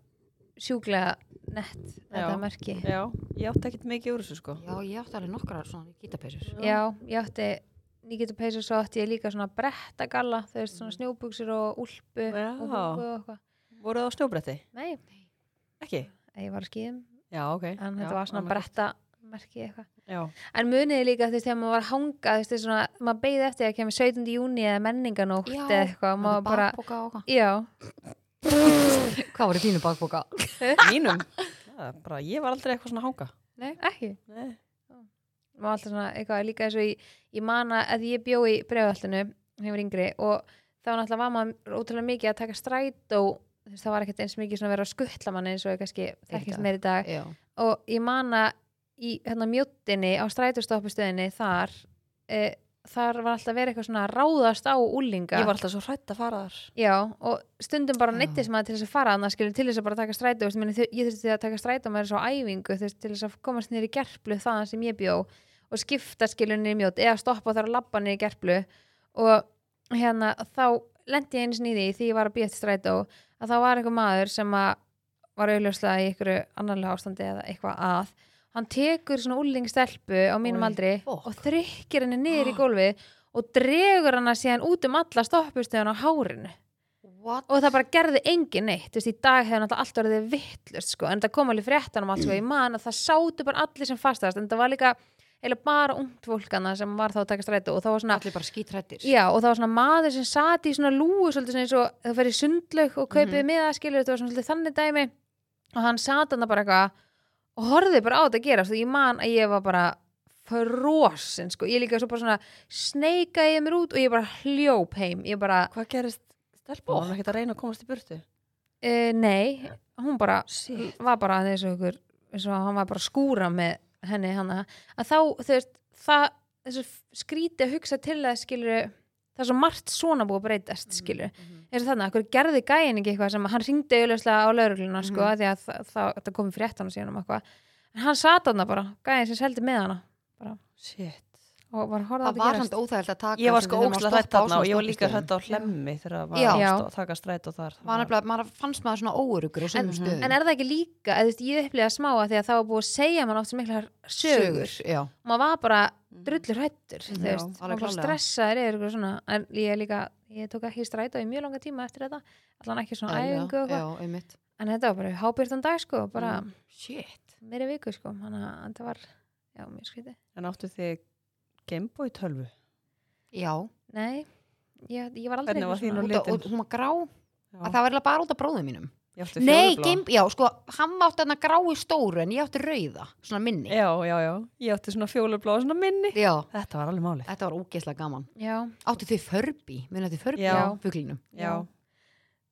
S3: sjúklega nett, þetta
S1: Já.
S3: merki
S1: Já, ég átti ekkert mikið úr þessu sko
S2: Já, ég átti alveg nokkra svona Nikita-peysur
S3: já, ég átti Nikita Peysur svo átti ég líka svona brettagalla þau veist svona snjóbuksur og úlpu
S1: Já.
S3: og húku og eitthvað
S1: Voruð það á snjóbretti?
S3: nei,
S1: Ekki?
S3: ég var að skýðum
S1: Já, ok
S3: en
S1: já,
S3: þetta var svona
S1: annað hvort.
S3: bretta merki eitthvað
S1: Já,
S3: En muniði líka þú veist þegar maður var að hanga þú veist þegar svona, maður beigði eftir að kemur 17. júni eða menninganótt
S2: Já,
S3: eða eitthvað og maður bara,
S2: Bakboka og hvað
S3: já,
S2: Hvað voru þínu bakboka?
S1: mínum Það er bara, Ég var aldrei eitthvað svona hanga
S3: Nei. ekki
S1: Nei.
S3: maður var alltaf svona eitthvað líka eins og ég, ég mana að ég bjó í bregðallinu hefur yngri og þá náttúrulega var maður ótrúlega mikið að taka strætó þú veist það var ekkert eins mikið svona að vera að skuttla manni eins og ég kannski
S2: dag.
S3: þekkist meir í dag
S2: Já
S3: og ég mana í hérna mjóttinni á strætóstoppustöðinni þar e, þar var alltaf verið eitthvað svona að ráðast á úlinga
S1: Ég var alltaf svo hrætt að fara þar
S3: Já, og stundum bara
S2: Já.
S3: neyttist maður til þess að fara annað skilur til þess að bara taka strætó veist, meni, ég þurfti að taka strætó maður svo á æfingu þess, til þess að komast niður í gerplu þaðan sem ég bjó og skipta skilunni í mjót eða stoppa þar að labba niður í gerplu og hérna þá lendi ég eins nýði því ég var að býja eftir strætó að þá var einhver maður sem að var auðljóslega í einhverju annarlega ástandi eða eitthvað að hann tekur svona úlingstelpu á mínum
S2: Oj,
S3: aldri
S2: fokk. Ah.
S3: og þrykkir henni niður í gólfið og dregur hana síðan út um alla stoppustöðun á hárinu
S2: What?
S3: og það bara gerði engin neitt þú veist, í dag hefur náttúrulega allt orðið vittlust sko, en það kom alveg fréttan um allt sko, ég
S2: Mm.
S3: man að það sátu bara allir sem fastast en það var líka, eiginlega bara ungt fólkana sem var þá að taka strætó og það var svona
S2: Allir bara skítrættir
S3: já, og það var svona maður sem sati í svona lúu svolítið svona eins og það fer í sundlaug og kaupið mm
S2: Mhm.
S3: skilur, það var svona svolítið þannig dæmi og hann sat hann bara eitthvað og horfði bara á þetta að gera og ég man að ég var bara frosin sko, ég líka svo bara svona sneikaði ég mér út og ég bara hljóp heim ég bara,
S1: Hvað gerist stelpa? Hún var ekkert að reyna að komast í burtu
S3: Uh, nei, hún bara
S1: Shit.
S3: var bara þessu ykkur eins og hann var bara að skúra með henni hana að þá þú veist það þessu skríti að hugsa til það skilur það er svo margt svona búið að breytast
S2: Mm.
S3: skilur
S2: Mhm.
S3: eins og þannig að hverju gerði gæin ekki eitthvað sem að hann ringdi auðvitað á laurugluna sko
S2: Mhm.
S3: mm. því að það, það, það komið fréttan og síðan um eitthvað en hann sat hann bara, gæin sem seldi með hana
S1: Shit
S3: og var að horfa á
S2: það
S3: þetta
S2: var
S3: gerast
S2: samt óþægild að taka
S1: Ég var
S2: sem
S1: sko
S2: við þurfum að
S1: ókslega
S2: stoppa
S1: hrætt
S2: á
S1: þarna og
S2: svona
S1: ég var líka
S2: stoppistöðum.
S1: hrætt á hlemmi þegar að
S2: Já.
S1: var að st- taka strætó þar.
S2: Var nefnilega- maður fannst maður svona óurugur og sögum stöðum
S3: en er það ekki líka, eða þú veist, ég upplega smá að því að það var búið að segja mann oft sem miklar sögur,
S2: já,
S3: og maður var bara drullur hættur, þú
S1: Já,
S2: alveg
S3: veist, maður var
S2: klárlega.
S3: stressaður yfir ykkur svona, en ég líka ég tók ekki strætó í mjög langa tíma eftir þetta allan ekki svona
S2: Æ, já,
S3: æfingu
S2: já,
S3: og hvað,
S2: einmitt
S3: en þetta var bara hábyrtan dag sko, bara mm.
S2: shit,
S3: meiri viku sko, þannig að þetta var já, mjög skrítið.
S1: En áttu þig Gameboy tölvu?
S2: já, og,
S3: Nei, ég, ég var aldrei
S1: Hvernig
S3: eitthvað
S1: var þín
S3: svona-
S1: úr-
S2: og,
S1: Litin.
S2: og hún var grá
S1: Já.
S2: að það var eiginlega bara út af bróðum mínum
S1: Ég átti
S2: nei,
S1: fjólubláa.
S2: game, já, sko, hann átti hann að gráu stóru en ég átti rauða, svona minni
S1: Já, já, já. Ég átti svona fjólublá og svona minni.
S2: já,
S1: Þetta var alveg málið.
S2: þetta var ógeðslega gaman
S3: Já,
S2: áttu þið förbi, munið þið förbi
S1: Já.
S2: á fuglinum
S1: Já.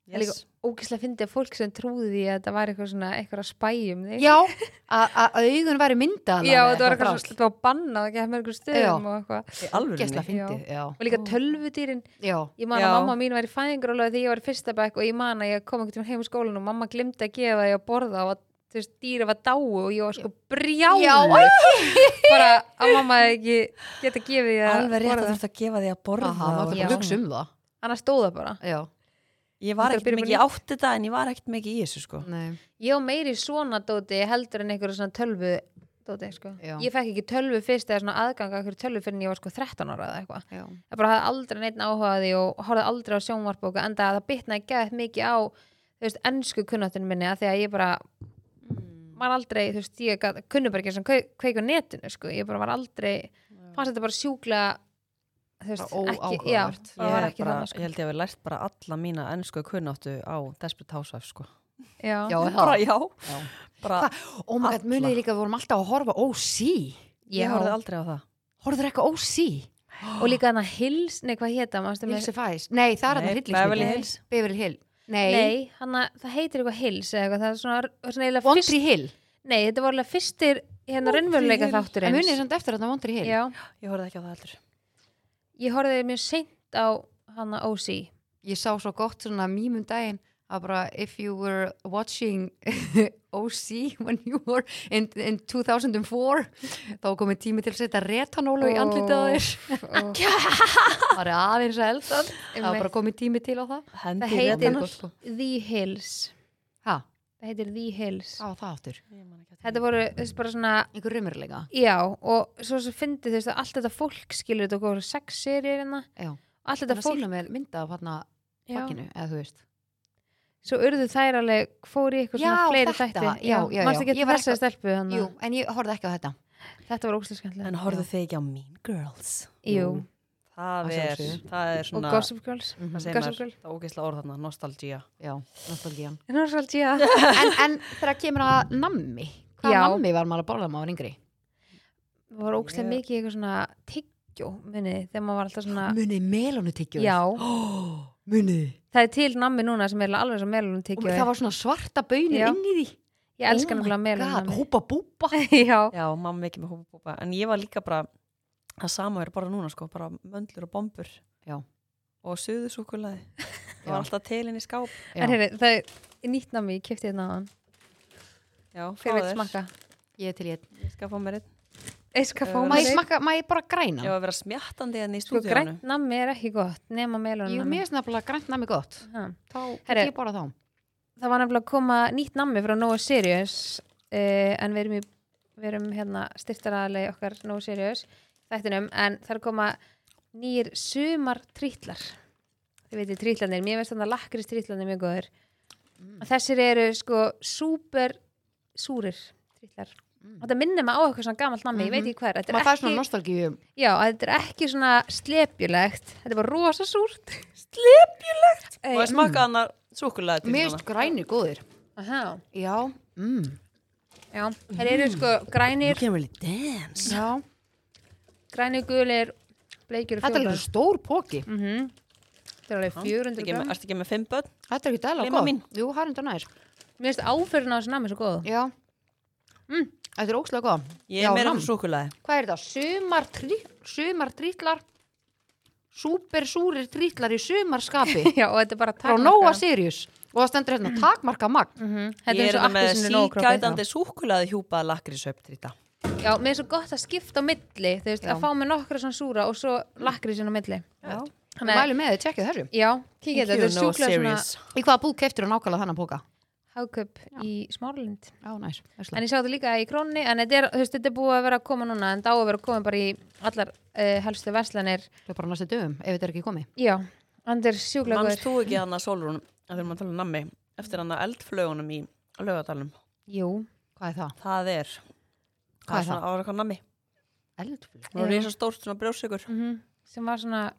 S3: En líka- ógislega fyndi að fólk sem trúði því að þetta var eitthvað svona, eitthvað að spæjum þig.
S2: já, að að augun væri myndað
S3: Já, þetta var eitthvað svona, þetta var bannað ekki að mörgur stöðum
S2: Já.
S3: og eitthvað.
S1: Alveg
S2: ógeðslega
S1: minni.
S2: fyndið, já,
S3: Og líka tölvudýrin,
S2: já.
S3: ég man að
S1: Já.
S3: mamma mín var í fæðingarólega þegar ég var í fyrsta bekk og ég man að ég kom einhvern tímann heim úr skólan og mamma glimti að gefa því að borða og að, þú veist, dýra var dáu og ég var sko brjálu.
S2: Já.
S3: Bara að mamma hefði ekki geta gefið því að
S1: Alveg rétt að
S3: borða.
S1: þetta gefa því að borða.
S2: Aha,
S1: og
S2: maður þarf bara
S1: eitthvað
S2: að
S1: svona.
S2: hugsa um það
S3: Annars stóða bara.
S2: já,
S1: Ég var
S3: Þetta er að
S1: ekkert
S3: byrja
S1: mikið,
S3: bara
S1: ég átti þetta en ég var ekkert mikið í þessu sko.
S2: nei,
S3: Ég á meiri svona dóti heldur en einhverju svona tölvu dóti, sko.
S2: Já.
S3: Ég fekk ekki tölvu fyrst eða svona aðganga einhverju tölvu fyrir en ég var sko 13 ára eða eitthvað.
S2: já,
S3: Ég bara hafði aldrei neitt áhugaði og horfði aldrei á sjónvarpbóka en það bitnaði gett mikið á þú veist, ennsku kunnáttinu minni að því að ég bara var aldrei, þú veist, ég gat, kunni bara ekki svona kveik, kveik á netinu, sko. Ég bara var aldrei, fannst þetta bara sjúkla þú veist,
S2: Bara
S3: ekki, já,
S2: óáhugavert.
S1: Ég,
S3: bara var
S1: er
S3: ekki
S1: bara,
S3: þannig,
S1: ég
S3: sko.
S1: held ég að við lært bara alla mína ennsku kunnáttu á Desperate Housewives sko.
S3: Já,
S2: já, er það
S1: Bara já,
S2: Já.
S1: bara,
S2: Oh my god,
S1: Alla.
S2: munið þið líka að við vorum alltaf að horfa á OC
S1: ég
S3: já.
S1: horfði aldrei á það.
S2: Horfður ekki á OC?
S3: Og líka þannig að hils, nei, hvað hétta, mannstu með
S2: Hilse Fæs? Nei, það er
S1: Nei,
S2: hann
S1: Beverly
S2: hryllingsmyndin.
S1: Hills.
S2: Beverly Hill Nei,
S3: Nei, hana, það heitir eitthvað hils eða eitthvað, það er svona, svona eiginlega
S2: One
S3: fyrst,
S2: Tree Hill
S3: nei, þetta var alveg fyrstir hérna
S1: One Tree
S3: raunveruleika
S1: Hill.
S3: þáttur
S2: En munið þið
S3: eins.
S2: samt eftir þetta One Tree Hill?
S3: Já,
S1: Ég horfði ekki á það heldur.
S3: ég horfði mjög seint á hana OC.
S2: Ég sá svo gott svona mýmum daginn að bara if you were watching OC when you were in, in 2004 þá komið tími til að setja retanólu í andlitið á þér
S3: og,
S2: bara aðeins að elda það var bara komið tími til á það
S1: Hendi
S3: Það heitir-
S1: reddinnar.
S2: sko.
S3: The Hills.
S2: Ha,
S3: Það heitir The Hills.
S2: það var það áttur
S1: Ég man ekki eftir
S3: Þetta voru, þessi bara svona,
S2: Einhver raumurlega
S3: já, og svo sem fyndið, þú veist, að allt þetta fólk skilur þetta okkur sex serið hérna.
S2: Já.
S3: Allt
S2: Þetta
S3: þetta fólk.
S2: fólk með mynda af hérna
S3: Já.
S2: bakkinu, eða þú veist
S3: Svo urðu þær alveg, fóru í eitthvað svona
S2: Já,
S3: fleiri
S2: þetta,
S3: þætti.
S2: já, já, já.
S3: Manstu ekki
S2: Ég
S3: eftir
S2: var
S3: þessari stelpu, hana?
S2: Jú, en ég horfði ekki á þetta
S3: Þetta var óslega skemmtilega.
S1: En horfðu þið ekki á Mean Girls?
S3: Jú,
S1: Það
S2: Að
S1: er,
S2: sjálfsögðu.
S1: það er
S3: og
S1: svona,
S3: Gossip Girls.
S1: hvað segir
S3: Gossip
S1: maður,
S3: Girl.
S1: það ógeðslega orð þarna, nostalgia.
S2: Já, nostalgían
S3: Nostalgia.
S2: en, en þegar kemur að nammi Hvað
S3: Já.
S2: nammi var maður að borða þegar maður var yngri?
S3: Það var ógstlega
S1: Ég-
S3: mikið eitthvað svona tyggjó, munið, þið, þegar maður var alltaf svona
S2: Munið melónu tyggjóð
S3: Já,
S2: Munið
S3: það er til nammi núna sem er alveg svo melunum
S2: Og
S3: tyggjó
S2: það var svona svarta baunir
S3: Já.
S2: inn í því
S3: Ég elska
S2: Oh my
S3: nefnilega melunum
S2: God,
S3: nammi
S2: Húpa búpa
S3: Já,
S1: Já, mamma mikið með hópa búpa. En ég var líka bara, það sama er bara núna sko, bara möndlur og bombur.
S2: Já.
S1: Og suðusúkulaði. Það
S2: Já.
S1: var alltaf telinn í skáp.
S3: en hérna, það er nýtt nammi, ég kipti þetta náðan
S1: Já,
S3: Hver
S1: fá
S3: veit
S1: þér.
S3: smakka?
S2: Ég er til ég
S1: Ég skal fá mér einn.
S3: Eiska fá
S1: Má
S2: Má ég
S3: mig.
S2: smakka, má ég bara
S1: Ég
S2: græna?
S1: var að vera smjattandi henni í
S3: Sko
S1: stúdíónu.
S3: grænt nammi er ekki gott, nema melunum
S2: Jú, mér er snabla grænt nammi gott Þá
S3: Herri.
S2: get ég borða þá
S3: Það var nefnilega að koma nýtt nammi frá Noah Sirius uh, en við erum, í, við erum hérna styrtaraðalegi okkar Noah Sirius þættinum en það er að koma nýjir sumar trítlar þið veitir trítlanir, mér finnst þannig að lakris trítlanir mjög góður og þessir eru sko súper súrir trítlar þetta minnir maður á eitthvað svona gamalt nammi, ég veit ekki hver þetta er,
S2: Maður fær svona
S3: ekki,
S2: nostalgíu
S3: já, þetta er ekki svona slepjulegt þetta er bara rosa súrt slepjulegt
S1: Og ég smakkaði
S3: Mm.
S1: hennar súkulaði til
S2: Mér erst grænir góðir
S3: Aha.
S2: Já mm.
S3: Já,
S1: Mhm.
S3: þeir eru sko grænir,
S1: can really dance.
S2: Já
S3: grænir gulir, bleikir og
S2: Þetta er
S3: fjólar.
S2: alveg stór póki
S3: Mm. Þetta er alveg 400
S1: Er
S3: grömm.
S1: þetta ekki með fimm börn?
S2: Þetta er ekki dæla
S1: Lima
S2: gott
S1: mín.
S2: Jú, það er enda nær
S3: Mér finnst áferðin á þessu nammi svo góð.
S2: Já Mm, Þetta er ókslega góð
S1: Ég er meira
S2: nam.
S1: fyrir súkulaði.
S2: Hvað er það? Sumar, trí, sumar trítlar Súpersúrir trítlar í sumarskapi
S3: Já, og þetta er bara
S2: Frá
S3: takmarkað.
S2: Nóa Sirius Og það stendur hérna takmarka magn
S3: Mhm, Þetta
S1: Ég er
S3: er eins og
S1: þetta með
S3: appelsinu nógrópa.
S1: síkætandi súkulaði hjúpað lakrísöptrýta.
S3: Já, mér er svo gott að skipta á milli, þú veist,
S2: Já.
S3: að fá með nokkra svona súra og svo lakrísin á milli.
S1: Já.
S2: Við mælum með þau, tjekkið þessu
S3: já, kíkja þetta, þetta er sjúklega svona
S2: Í hvaða búk keftir þú nákvæmlega þannig póka?
S3: háköp í smáralind.
S2: Já, næs, veistla
S3: En ég sá þetta líka í krónni, en þetta er, þú veist, þetta er búið að vera að koma núna, en þetta á að vera að koma bara í allar uh, helstu verslanir.
S2: Þau bara næstu dögum, ef þetta er ekki komið
S3: Já, hann er sjúklega
S1: Manst
S3: góður.
S1: þú ekki hann að Solrún, að þegar maður tala um nammi, eftir hann að eldflögunum í laugadalum?
S3: Jú,
S2: Hvað er það?
S1: Það er,
S2: Hvað er
S1: svona- Það var eitthvað nammi.
S2: Eldflug?
S1: Það var
S3: Já.
S1: eins og stórt svona brjósikur.
S3: mm sem var svona,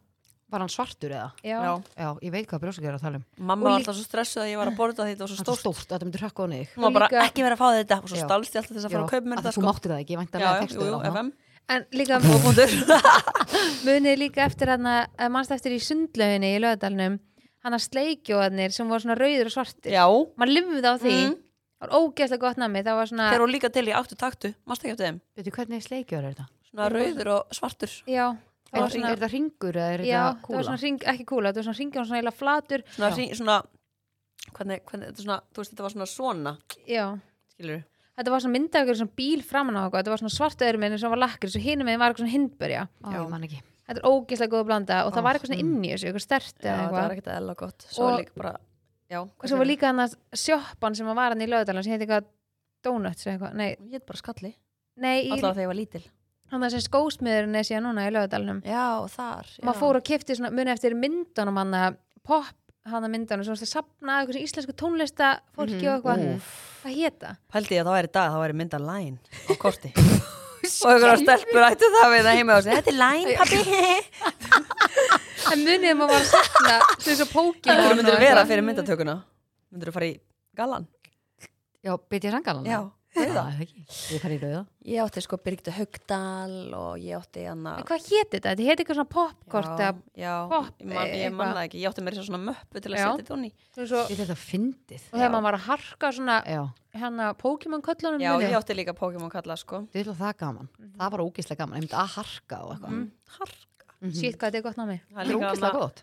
S2: Var hann svartur eða?
S3: já,
S1: Mhm. Já.
S2: Já, ég veit hvað brjósakir er að tala um
S1: Mamma
S3: Og
S1: var
S3: líka-
S1: alltaf svo stressuð að ég var að borða þetta og svo
S2: Hann er svo
S1: stórt.
S2: stórt, þetta myndi hrökk á neyð
S1: Hún var bara
S3: Líka-
S1: ekki verið að fá þetta og svo
S2: Já.
S1: stálst ég alltaf til þess að fara að kaupa mér þetta
S2: Þú
S1: sko.
S2: mátti það ekki, ég vænti
S1: Já,
S2: að með
S1: já, jú,
S2: textu
S1: jú, FM.
S3: en líka
S1: Óbúndur.
S3: munið líka eftir hann að mannst eftir í sundlauginni í lögadalnum, hann að sleikjóðanir sem voru svona rauður og svartir.
S1: Já.
S3: maður limfið á því
S1: Mhm.
S3: það var ógeðslega gott nami það var svona
S1: Þeir voru líka til í áttu taktu, mást ekki eftir þeim.
S2: Veitu hvernig sleikjör er þetta?
S1: Svona rauður og svartur.
S3: já, það
S2: Er,
S3: var svona,
S2: er þetta ringur eða er
S3: já,
S2: þetta
S3: það var
S2: kúla?
S3: svona ring, ekki kúla það var svona ringi og svona eila flatur
S1: Svona,
S2: Já.
S1: hring- svona, hvernig, hvernig, þetta er svona, þú veist, þetta var svona svona,
S3: já.
S1: skilur
S3: þetta var svona myndað ykkur svona bíl framan á okkur þetta var svona svart öðrum minn sem var lakkri svo hinum minn var eitthvað svona hindberja
S2: Ó,
S1: Já.
S2: ég man ekki
S3: þetta er ógeðslega góð blanda og það
S2: Ó,
S3: var eitthvað svona
S2: mm.
S3: inn í þessu eitthvað stert
S1: Já,
S3: eða
S1: það var
S3: eitthvað
S1: ekkert eðla gott. Svo
S3: Og-
S1: líka bara, já.
S3: og svo var líka hann að sjoppan sem var hann í löðdalan sem heiti eitthvað donuts eða eitthvað nei,
S1: Ég heit bara skalli.
S3: nei í,
S1: Alltaf þegar ég var lítil.
S3: hann það sem skósmiðurinn er síðan núna í löðdalanum
S1: Já, þar. já.
S3: maður fór og kefti svona muni eftir myndunum hann að pop hann að myndunum svo að sapna eitthvað svona íslensku tónlista fólki
S2: Mhm.
S3: og eitthvað
S2: Úff.
S3: hvað hétta?
S1: Pældi ég að það væri í dag, það væri mynda læn á korti og einhverja stelpur ættu það við það heima og segja, þetta er læn, pappi
S3: en munið maður var að sapna svo eins og Pokémon
S1: Hvað
S3: og
S1: myndir vera
S3: eitthvað.
S1: fyrir myndatökuna? Myndir þú fara í galan?
S2: Já, byrja rangalann
S1: Rauða.
S2: ekki Ég fer í rauða
S1: Ég átti sko Birgitta Haugdal og ég átti hann
S3: En
S1: að
S3: hvað hétt þetta? Þetta hétt eitthvað svona popkort
S1: Já,
S3: eða-
S1: já,
S3: popp,
S1: ég man- ég
S3: eitthvað.
S1: manna það ekki, ég átti mér svona möppu til að
S3: Já.
S1: setja þetta onni
S3: svo eins og-
S2: Ég þetta fyndið
S3: og þegar maður var að harka svona
S2: Já,
S3: hann að Pokémon köllunum
S1: Já,
S3: munið.
S1: ég átti líka Pokémon kalla sko
S2: þetta er það gaman
S3: Mhm.
S2: Það var ógislega gaman, ég myndi að harka og eitthvað
S1: Harka
S2: Mhm.
S3: Shit, hvað þetta er gott námi
S1: Það er
S2: Það er
S1: líka
S2: ógislega
S1: hann að
S2: gott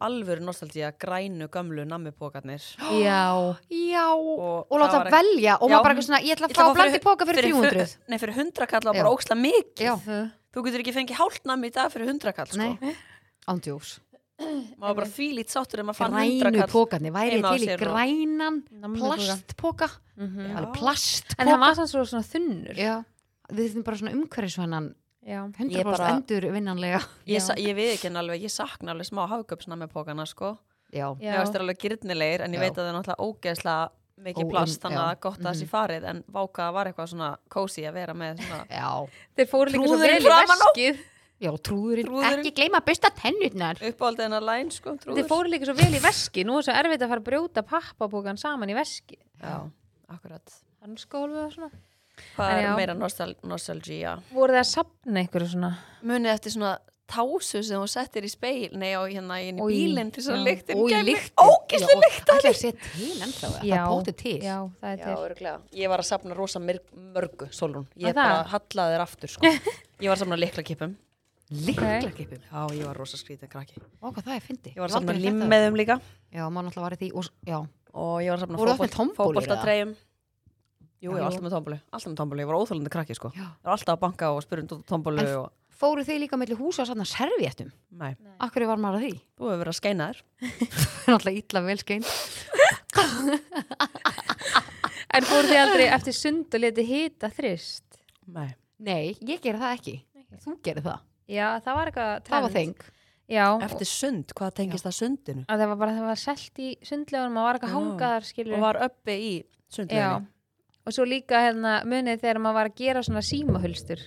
S1: alvöru nostalgía, grænu gömlu nammipokarnir
S3: Já,
S2: Já, og,
S1: Og það
S2: láta
S1: var ekki-
S2: velja og
S1: Já.
S2: maður bara eitthvað svona, ég ætla að
S1: Ég
S2: fá
S1: ætla að fá
S2: blandi
S1: fyrir-
S2: póka fyrir 300
S1: Nei, fyrir 100 kalla
S2: Já.
S1: bara óksla mikið
S2: Já,
S1: Þú getur ekki fengið hálft nammi í dag fyrir 100 kall sko.
S2: nei, ándjós
S1: maður var bara þvílít sáttur um ef maður fann hundra
S2: Grænu
S1: kall
S2: pókarni, væri
S1: Heima á
S2: ég til í
S1: sér og-
S2: grænan plastpóka
S3: Mhm.
S2: Alveg
S1: Já.
S2: plastpóka
S3: en hann var sann svo svona þunnur
S2: Já, við þurfum bara svona umhverfisvænan
S3: Já.
S2: 100%
S1: Ég bara-
S2: endur vinnanlega
S1: ég, sa- ég við ekki alveg, ég sakna alveg smá hafgöpsna með pókana sko
S2: Já,
S3: Já.
S1: ég veist það er alveg gyrnilegir en ég
S2: Já.
S1: veit að það er náttúrulega ógeðslega
S2: Ó,
S1: mikið plast
S2: um,
S1: þannig að
S2: já.
S1: gott að það sé farið en váka var eitthvað svona cozy að vera með svona
S2: já,
S3: þeir fóru líka svo
S1: Trúðurinn
S3: vel í
S1: framan á.
S3: veskið
S2: já trúðurinn,
S1: Trúðurinn.
S2: Ekki gleyma að busta tennutnar
S1: uppáldið hennar læn sko trúður.
S3: þeir fóru líka svo vel í veski nú er svo erfitt að fara að brjóta pappabókan saman í veski
S1: já, akkurat
S3: hann skólfið og svona
S1: hvað
S3: En
S1: er
S3: já.
S1: meira nostal nostalgia
S3: voru þið að sapna ykkur svona
S1: munið eftir svona tásu sem hún settir í speil nei, og hérna inn í
S3: Oj.
S1: bílinn til svona
S3: Já.
S1: lyktin
S2: Ói,
S1: kæmi.
S2: líkt
S1: ógeðslega
S2: líkt Það er að setja til ennþá Það
S3: Já,
S2: er bótið til
S3: já, það er
S1: Já,
S3: til
S1: örglega. Ég var að safna rosa myrg, mörgu, Solrún. Ég
S3: Að
S1: bara
S3: það?
S1: hallaði þér aftur, sko. Ég var að safna liklakippum.
S2: Líklakippum
S1: Já, ég var rosa skrítið krakki.
S2: Ó, hvað það er fyndi
S1: Ég var að safna limmeðum líka.
S2: Já, maður náttúrulega var í því og, Já,
S1: Og ég var að safna
S2: Voru það með tombólur
S1: fótboltatreyjum. Jú, ég
S2: Já.
S1: var alltaf með tombólu. Alltaf með tombólu. Ég var óþólandi krakki, sko.
S2: já
S1: Ég var alltaf að banka og spurði um tombólu
S2: En-
S1: og...
S2: Fóru þið líka mellir húsa að sanna servjettum
S1: Nei,
S2: Akkur var maður að því
S1: þú hefur verið að skeina þér.
S2: Það er náttúrulega illa vel skein
S3: En fóru þið aldrei eftir sund og leti hita þrist?
S1: Nei.
S2: Nei, ég geri það ekki Þú gerir það
S3: Já, það var eitthvað
S2: Það var
S3: trend.
S2: þeng
S3: Já,
S1: Eftir sund, hvað tengist það sundinu?
S3: að það var bara það var selt í sundlegunum og var eitthvað
S1: Já.
S3: hangaðar skilur
S1: Og var uppi í
S3: Já,
S1: sundleginni?
S3: og svo líka hérna munið þegar maður var að gera svona símahulstur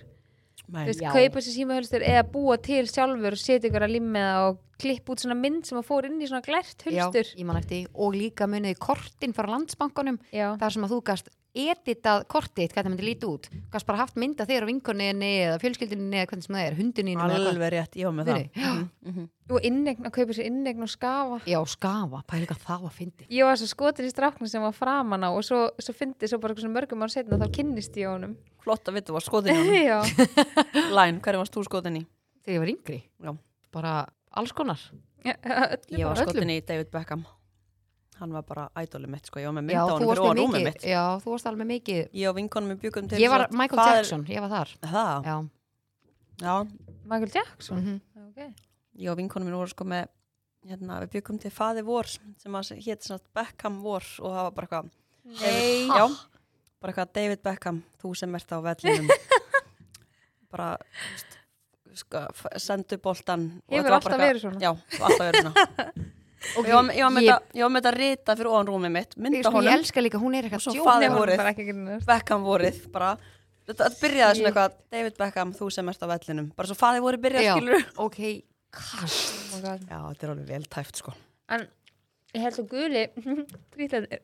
S3: Þú
S1: Nei.
S3: veist,
S2: Já.
S3: kaupa sér símahulstur eða búa til sjálfur og setja ykkur að limmiða og klippa út svona mynd sem að fór inn í svona glært
S2: Já,
S3: hulstur
S2: ég man eftir því. Og líka muniði kortin frá landsbankanum
S3: Já,
S2: þar sem að þú gast editað kortið, þitt, hvað það myndi líti út gast bara haft mynda þér og vinkoninni eða fjölskylduninni eða hvernig sem það er, hunduninni
S1: Alveg rétt, ég var með það.
S2: Muni, já.
S1: Mhm, mhm.
S3: og innegn, að kaupa sér innegn og skafa
S2: Já, skafa, pæli hvað það var fyndi
S3: Ég var svo skotin í stráknum sem var framan á og svo, svo fyndi svo bara svona mörgum án setna þá kynnist ég honum
S1: Flott að vita, var skotin í honum.
S3: Já,
S1: Læn, hverju varst þú skotin í?
S2: þegar ég var yngri,
S1: Já.
S2: bara alls konar
S3: Öllum
S1: Ég var
S2: bara öllum.
S1: skotin í David Beckham hann var bara ædolið mitt, sko, ég var með
S2: já,
S1: mynda á
S2: þú
S1: hann fyrir
S2: varst með
S1: orða rúmið
S2: mikið,
S1: mitt.
S2: já, þú varst alveg mikið
S1: Ég og vinkonum við byggum til
S2: ég var
S1: sem sagt
S2: Michael
S1: faðir-
S2: Jackson, ég var þar
S1: Það,
S2: já,
S1: já,
S3: Michael Jackson
S2: mhm.
S3: okay.
S1: ég og vinkonum minn voru sko með hérna, við byggum til faði vor sem að hétt svona Beckham vor og það var bara eitthvað David-
S2: Ha?
S1: já, bara eitthvað David Beckham þú sem ert á vellinum bara þú veist, sko, f- sendu boltan og
S3: Hefur
S1: þetta var
S3: alltaf
S1: bara eitthvað-
S3: verið svona?
S1: já, alltaf verið svona
S2: Ok,
S1: ég var, ég var með
S2: ég-
S1: þetta- ég var með þetta rita fyrir ofan rúmið mitt
S2: ég,
S1: mynda
S2: sko, ég
S1: honum,
S2: elska líka, hún er
S1: Og svo
S2: eitthvað
S1: faðir-
S2: djóð
S1: Það
S3: Nei,
S1: er
S3: hún
S1: vorið.
S3: er bara ekki að gera
S1: Beckham vorið bara þetta þetta byrjaði svona
S2: Shit.
S1: eitthvað David Beckham, þú sem ert á vellinum bara svo faði vorið byrjaði
S2: Já.
S1: skilur
S2: ok, kast
S3: nefnast
S1: já, þetta er alveg vel tæft sko
S3: En ég held að guli Grítlandir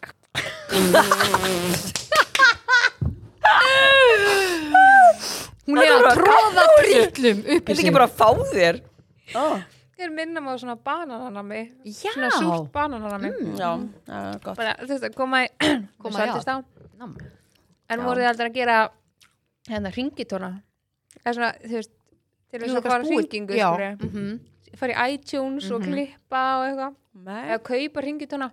S2: hún er að tróða trýtlum upp
S1: Þetta
S2: í
S1: er
S2: sig
S1: ekki bara að fá þér
S3: Ég minna maður svona bananarami
S2: Já. Mm.
S3: Svona súrt bananarami
S1: Já, það er gott
S3: Bara þú veist að koma í
S2: Koma í
S3: Sættist á
S2: Nam.
S3: En
S1: Já.
S3: voru þið aldrei að gera hérna ringitóna eða svona þú veist til
S2: Jú,
S3: þess að
S2: eitthvað
S3: fara
S2: spúið.
S3: ringingu
S2: Já,
S3: skilurðu.
S2: mhm.
S3: fara í iTunes og
S2: Mhm. Eh?
S3: klippa og eitthvað
S1: Nei.
S3: eða kaupa ringitóna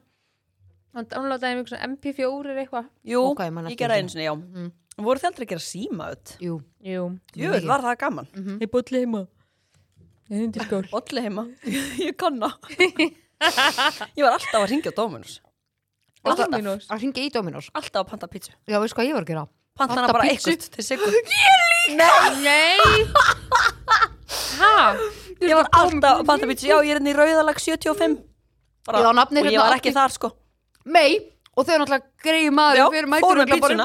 S3: og downloadaði mig svona MP4 eða eitthvað
S1: Jú,
S2: Ok, ég man
S1: ég
S2: eftir
S1: gera
S2: þessu.
S1: einu sinni, já
S2: Mhm.
S1: Voru þið aldrei að gera síma öll?
S2: Jú.
S3: Jú
S1: Jú,
S2: Mikið.
S1: var það gaman
S2: Mhm.
S1: Ég bolli heima
S3: Ég hindi skól
S1: Bolli heima, ég kanna Ég var alltaf að ringja á Dominus Alltaf.
S3: Dominos
S2: að ringa í Dominos
S1: Alltaf að panta pítsu
S2: já, veist hvað ég var að gera
S1: Panta hana
S2: Panta
S1: bara
S2: pítsu?
S1: eitthvað til sigur
S3: Nei Hæ?
S1: Ég var alltaf að panta pítsu Já, ég er hérna í Rauðalag 75 bara,
S2: Já, nafnið
S1: Og ég
S2: hérna
S1: var ekki
S2: átti-
S1: þar sko
S2: mei, og þau náttúrulega greiði maður
S1: Já,
S2: fyrir
S1: fóru
S2: mætur
S1: með pítsuna.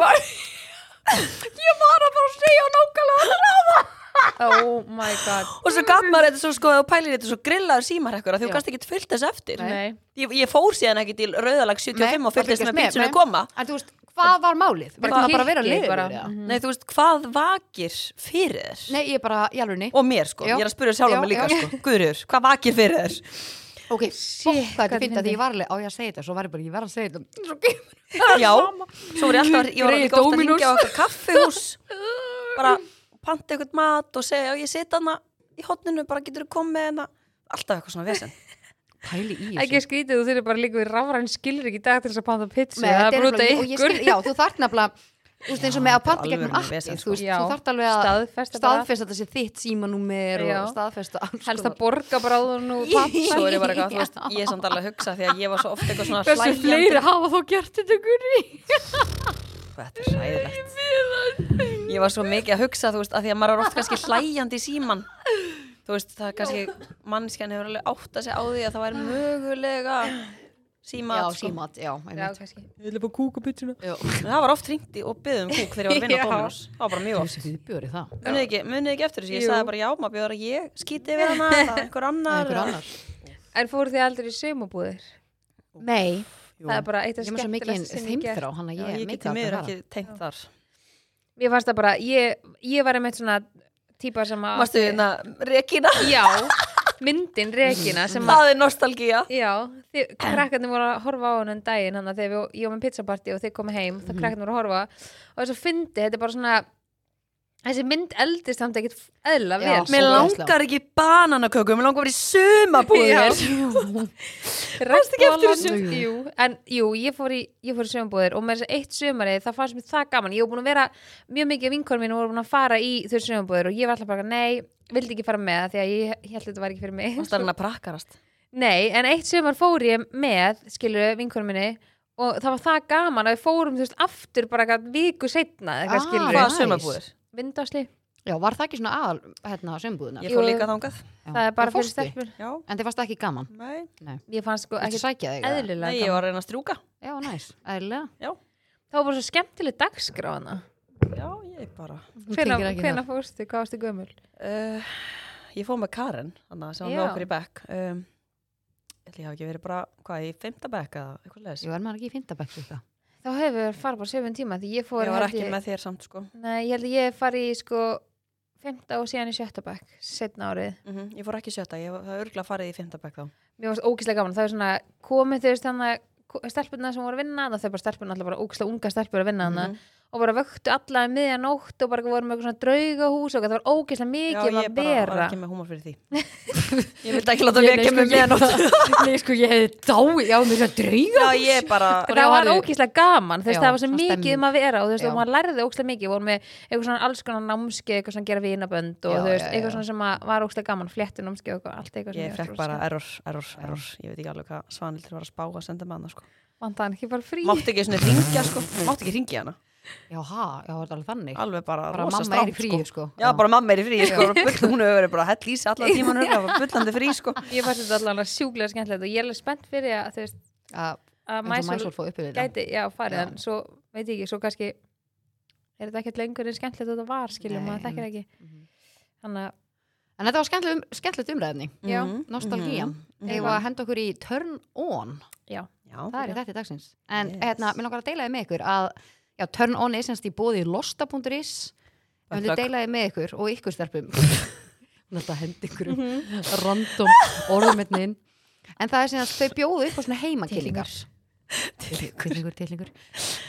S2: ég var að bara segja nákvæmlega
S3: Oh my god
S1: Og svo gaf maður þetta svo sko og pælir þetta svo grillaður símar ekkur því þú
S2: Já.
S1: gast ekki fyllt þess eftir
S3: Nei
S1: ég, ég fór síðan ekki til Rauðalag 75
S2: Nei,
S1: og fylgist
S2: fylgjast
S1: með
S2: með,
S1: pítsunni
S2: nei.
S1: koma
S2: en þú veist, hvað var málið? var
S3: Bara
S2: það bara að vera
S3: kirkju,
S2: liður
S3: bara.
S1: Nei, þú veist, hvað vakir fyrir þér?
S2: Mhm. nei, ég bara, í alvegni
S1: Og mér sko,
S2: Já.
S1: ég er að spyrja sjálfa
S2: Já,
S1: mig líka
S2: já.
S1: sko Guðriður, hvað vakir fyrir þér?
S2: ok,
S3: Shit,
S2: bókka
S3: hvað
S2: þetta fint
S3: fyndið.
S2: að því ég var alveg á ég að segja þetta svo var ég bara, ég verð að segja þetta Svo kemur-
S1: Já, svo var ég alltaf, ég var
S2: Greyið
S1: líka ofta að
S2: Dominos.
S1: hringja á eitthvað kaffihús Bara panta eitthvað mat og segja Já, ég sita hana í hotninu, bara getur þú komið hana Alltaf eitthvað svona vesen
S2: pæli í þessu
S3: Ekki sko, skrítið, þú þurfir bara líka við rafræn skilur ekki í dag til þess að panta pizza
S2: Nei,
S3: Það
S2: þetta er
S3: er bara út af
S2: nefnilega- og ég
S3: ykkur
S2: skil- já, þú þart nefnilega þú veist eins og með að
S1: þetta er
S2: panta gegnum
S1: alvöru
S2: appið
S1: vesen,
S2: þú veist, þú
S3: sko. Já.
S2: þart alveg að
S3: Staðfesta bara.
S2: staðfesta þessi þitt símanúmer og
S3: Já.
S2: staðfesta alls
S3: Helst
S2: konar.
S3: að borga bara áður nú
S1: Svo er
S3: pappa
S1: ég bara eitthvað, þú veist, ég er samt alveg að hugsa Því að ég var svo ofta eitthvað svona
S3: Hversu
S1: hlægjandi.
S3: fleiri hafa þó gert þetta guri
S1: Þetta er hræðilegt Ég var svo mikið að hugsa þú veist að því að maður er oft kannski hlæjandi í síman Þú veist það er kannski mannskjan hefur alveg átt að segja á því að það væri mögulega símat
S2: já,
S1: sko.
S2: símat, já,
S3: Já,
S2: einmitt
S3: kannski
S1: Ég vil bara kúka byttuna
S2: Já.
S1: Það var oft hringt í og byggði um kúk þegar ég var að vinna
S3: Já.
S1: á Dominus Það var bara mjög oft
S2: þessi viðbjör í það
S1: Munið ekki, munið ekki eftir þessu, ég
S3: Jú.
S1: sagði bara já, maður bjóður að ég skýti við hana, það er einhver annar
S2: einhver annar
S3: En fóru þið aldrei í sömubúðir?
S2: nei,
S1: Jú.
S3: Það er bara eitt af
S2: ég maður svo mikið
S3: skemmtilegst sem ég gert.
S2: þeimþrá hann að
S1: Já,
S2: ég
S1: Ég
S2: er
S1: geti
S2: mikið
S1: miður
S2: að
S1: ekki
S2: það
S1: tengt þar
S3: Mér fannst það bara, ég, ég var einmitt svona típa sem að
S1: Mastu hérna, Regina,
S3: Já, myndin Regina sem að
S1: það er nostalgía
S3: Já, þið, krakkarnir voru að horfa á hann en daginn hann að þegar við, ég var með pizzapartí og þið komið heim, þá
S1: Mhm.
S3: krakkarnir voru að horfa og þess að fyndi, þetta er bara svona þessi mynd eldist samt ekkert eðla
S2: Já.
S3: vel
S1: Mér
S2: Svo
S1: langar ekki í bananaköku, mér langar að vera í sumabúðir
S3: Ræst
S1: ekki eftir þessu?
S3: Jú, en jú, ég fór í, ég fór í sömumbúðir og með þess að eitt sömarið, það fannst mér það gaman ég var búin að vera, mjög mikið af vinkonum mínu voru búin að fara í þau sömumbúðir og ég var alltaf bara nei, vildi ekki fara með því að ég, ég held þetta var ekki fyrir mig
S1: Það er hann að prakkarast
S3: Nei, en eitt sumar fór ég með, skilur vinkunum minni og það var það gaman að við fórum þú veist aftur bara eitthvað viku setna eitthvað
S2: Ah,
S3: skilur
S1: Hvaða
S2: Nice.
S1: sumabúðir?
S3: Vindásli,
S2: já, var það ekki svona aðal, hérna, sömbúðunar
S1: Ég
S3: Jú.
S1: fór líka þangað
S3: það er bara fyrir stelpur
S1: Já,
S2: en þið varst ekki gaman,
S1: nei
S3: Ég fannst sko
S2: ekki
S3: ekki
S2: sækja þig eða?
S3: eðlilega
S1: Nei, ég
S3: gaman
S1: var að reyna að strjúka
S2: já, næs, eðlilega
S1: Já,
S3: Það var bara svo skemmtileg dagskráð hana
S1: já, ég bara
S2: Hún
S3: Hvena,
S2: tengir ekki
S3: hvena fórstu, hvað varstu gömul?
S1: uh, Ég fór með Karen, hann sem var með
S3: Já.
S1: okkur í bekk um, Ég ætli ég hafi ekki verið bara, hvað, í fymta bekk eða eitthvað leðis
S2: Jú, er maður ekki í fyndabæk líka?
S3: Þá hefur við farið bara 7 tíma því ég hérna fór
S1: Ég var
S3: held
S1: ekki með þér samt, sko
S3: Nei, ég held að ég farið í sko 5. og síðan í 7. bekk setna árið
S1: mm Ég fór ekki í sjötta, ég var- það örgla farið í fymta bekk þá
S3: mér varst ógíslega gaman það er svona komið þau þannig stelpurna sem voru að vinna þannig þau bara stelpurna alltaf bara ógíslega unga stelpur að vinna mm
S1: Mhm.
S3: og bara vöktu alla um miðja nótt og bara vorum með eitthvað svona draugahús og það var ógeðslega
S1: Já,
S3: mikið um
S1: ég
S3: að
S1: bara var
S3: vera
S1: ekki með húmor fyrir því. ég vildi ekki láta
S2: Ég-
S1: vekja
S3: sko,
S1: mig með nótt.
S2: Nei, sko, ég hefði dáið, já, mér er að drauga.
S1: Já, ég bara,
S2: Og
S3: það
S2: þá
S3: var
S2: hafði-
S3: ógeðslega gaman, þú veist,
S2: Já,
S3: það var svo
S2: svona
S3: mikið um að vera og þú veist,
S2: Já.
S3: og maður lærði ógeðslega mikið, vorum við eitthvað svona alls konar námskeið, eitthvað svona gera vinabönd og
S2: Já,
S3: þú veist,
S2: já,
S3: eitthvað
S2: já.
S3: svona sem að var ógeðslega gaman, fléttu námskeið og eitthvað, allt eitthvað sem
S1: ég fekk
S3: var
S1: bara
S2: sko.
S3: skemmt.
S1: error, error, error. Ég veit ekki alveg hvað Svanhildur var að spá að senda með hana, sko.
S3: Vantaði hann ekki bara frí.
S1: Mátti ekki svona ringja, sko. Mátti ekki ringja hana.
S2: Já, ha, já, það er alveg þannig.
S1: Alveg bara,
S2: Bara
S1: rosa
S2: mamma
S1: strátt,
S2: er í fríi, sko.
S1: Já, bara mamma er í frí, sko. Bull, hún hefur verið bara hell í sig allan tíman, hún hefur bullandi frí, sko.
S3: Ég fannst þetta allavega sjúklega skemmtilegt og ég er alveg spennt fyrir að, þú veist,
S2: Að,
S3: að
S2: eins og
S3: mæsul
S2: mæsól fóð uppið þetta.
S3: gæti, já, farið,
S2: Já.
S3: en svo, veit ég ekki, svo kannski er þetta ekkert lengur en skemmtilegt og þetta var, skiljum,
S2: Nei,
S3: maður þekkir ekki.
S2: Mhm.
S3: Þannig að,
S2: En þetta var skemmtileg um, skemmtilegt umræðinni.
S3: Já,
S1: Mhm,
S2: nostalgían.
S1: mhm, mhm.
S2: Eða að henda okkur í turn on.
S1: Já,
S2: Það er í þetta dagsins. En
S1: Yes.
S2: hérna, mér langar að deila þið með ykkur að já, turn on er semst í bóði losta.is en
S1: Takk.
S2: við deilaði með ykkur og ykkur stelpum hún er alltaf að henda ykkur um random hérna orðumetnin en það er sem að þau bjóðu upp á svona heimakynningar tillingur, tillingur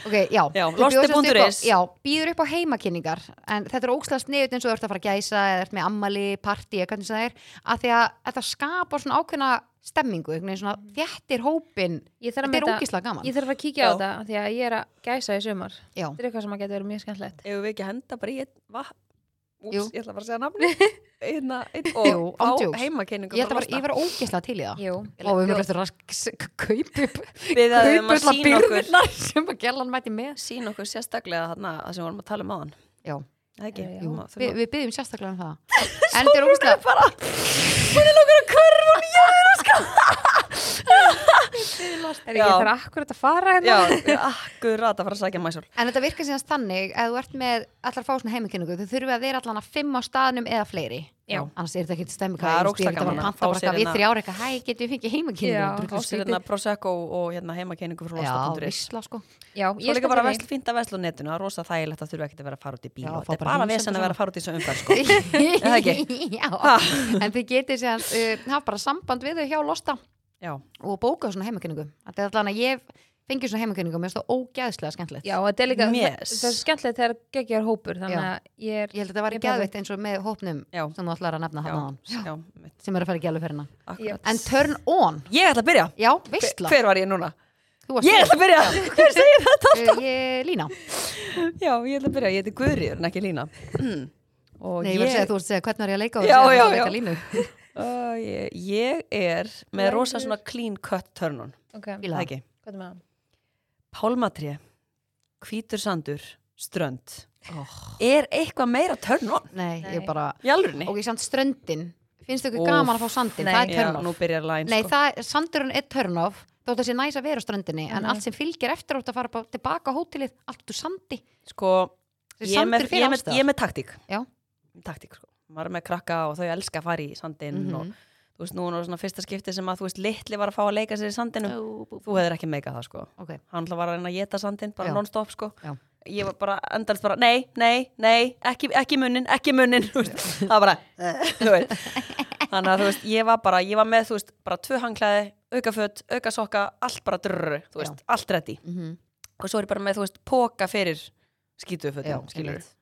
S2: ok, já,
S1: Já,
S2: þau bjóða sem sagt upp á-
S1: losti.is.
S2: já, býður upp á heimakynningar en þetta er ókslega sniðut eins og þú ert að fara að gæsa eða ert með ammali, partí, eða hvernig sem það er að því að þetta skapar svona ákveðna stemmingu, einhvern veginn svona þjættir hópin
S3: ég þarf að
S2: þetta er
S3: meta-
S2: ógislega gaman
S3: ég þarf að kíkja á
S1: Já.
S3: þetta af því að ég er að gæsa í sumar.
S2: já,
S3: Þetta er eitthvað sem að geta verið mjög skemmtilegt.
S1: Ef við ekki að henda bara í einn vatn Úps,
S2: Jú.
S1: ég ætla bara að segja nafni einna, einn
S2: Jú,
S1: og á
S2: ándjóks.
S1: heimakenningu
S2: ég ætla bara, ég var ógislega til í það
S3: Jú.
S2: og við höfum eftir að s- k- kaupa upp
S1: við
S2: kaupa
S1: að
S2: alla
S1: sína okkur
S2: byrðirnar sem að gerlan mæti með
S1: sína okkur sérstaklega þarna að sem við vorum að tala um áðan
S2: já,
S1: Það ekki,
S3: Já,
S1: Jú,
S2: Eh,
S3: já.
S2: jú,
S1: þurfum
S2: við, við byggjum sérstaklega um það en þetta er ógislega bara,
S3: Er ég
S1: Já.
S3: þarf akkurat að fara
S1: að- Já,
S3: hérna?
S1: við erum akkurat að fara að sækja mæsól
S2: en þetta virkar síðan þannig að þú ert með allar fá svona heimikynningu, þau þurfum að vera allan að fimm á staðnum eða fleiri
S3: Já.
S2: annars er þetta ekki stemmi
S1: Það er
S2: hvað
S1: ógeðslega gaman að fá sér
S2: við
S1: hérna-
S2: þrjára eitthvað, hæ, getum við fengið
S3: Já,
S1: Fá sér hérna
S2: heimakynningu
S1: Prosecco og hérna heimakenningu frá
S2: já,
S1: losta.is
S2: vissla sko
S3: Já,
S1: Svo
S3: ég
S1: líka
S3: skal
S1: bara
S3: bara
S1: vesl, fínt að vesla á netinu, það er rosa þægilegt að þurfa ekkert að vera að fara út í bíl
S2: Já,
S1: og
S2: fá
S1: þetta er
S2: bara
S1: bara
S2: heimsenda
S1: vesen að
S2: saman.
S1: vera að fara út í þessu umferð sko. það ekki?
S2: já,
S1: Ha.
S2: en þið getið síðan uh, hafa bara samband við þau hjá losta
S1: Já,
S2: og bóka svona heimakynningu þetta er allan að ég fengi svona heimakynningu og mér finnst það ógæðslega skemmtilegt
S3: Já, þetta er líka,
S1: Yes.
S3: það er skemmtilegt þegar geggjör hópur, þannig
S2: Já.
S3: að ég er,
S2: ég held að þetta var
S3: Ég bara-
S2: gæðveitt eins og með hópnum
S1: Já.
S2: sem þú ætlar að nefna
S1: já,
S2: hann aðan
S1: já, mitt,
S2: sem er að fara í gæluferðina
S1: akkurat
S2: en turn on,
S1: Ég ætla að byrja,
S2: já, veistla
S1: hver var ég núna?
S2: þú varst
S1: Ég ætla að byrja, hver segir þetta?
S2: uh, ég, Lína,
S1: Já, ég ætla að byrja, ég heiti Guðriður en ekki Lína og
S2: nei, ég var að segja þú varst að segja hvernig var ég að leika og
S1: Já,
S2: segja
S1: já,
S2: að
S1: já.
S2: leika Línu
S1: Ó, ég, ég er með rosa svona clean cut törnun
S3: ok,
S2: Fíla.
S1: Það ekki
S3: hvað er með hann?
S1: Pálmatri, hvítur sandur, strönd
S2: oh,
S1: Er eitthvað meira törnun?
S2: nei,
S3: Nei.
S2: ég bara
S1: Jálurni?
S2: ok, samt ströndin, finnst þau ekki
S1: Úff,
S2: gaman að fá sandin
S3: nei.
S2: það er
S1: Já,
S2: turn
S1: nú
S2: off,
S1: byrjar læn
S2: nei,
S1: sko.
S2: það, sandurinn er turn off þótt að sé næs að vera á ströndinni en
S3: Mhm.
S2: allt sem fylgir eftir átt að fara bara tilbaka á hótelið, allt úr sandi
S1: sko,
S2: Þessi
S1: ég, er með,
S2: sandur fer
S1: ég, er
S2: alls
S1: með, ég er með taktík
S2: Já.
S1: Taktík, sko Maður er með krakka og þau elska að fara í sandinn og
S2: staðar.
S1: þú veist, nú er svona fyrsta skipti sem að þú veist, litli var að fá að leika sér í sandinum
S2: Mhm.
S1: Þú hefðir ekki meikað það, sko
S2: ok,
S1: hann alltaf var að reyna að geta sandinn bara
S2: Já.
S1: non-stop sko
S2: Já.
S1: ég var bara endalst bara nei, nei, nei ekki, ekki munnin, ekki munnin þú veist. það var bara "Eh," þú veist. þannig að þú veist, ég var bara, ég var með þú veist, bara tvö hanglaði, auka fött, auka sokka allt bara drrrr, þú veist, allt reddi
S2: mhm,
S1: og svo er ég bara með, þú veist, póka fyrir
S2: já,
S1: skítufötum, skilur
S2: einmitt.
S1: sem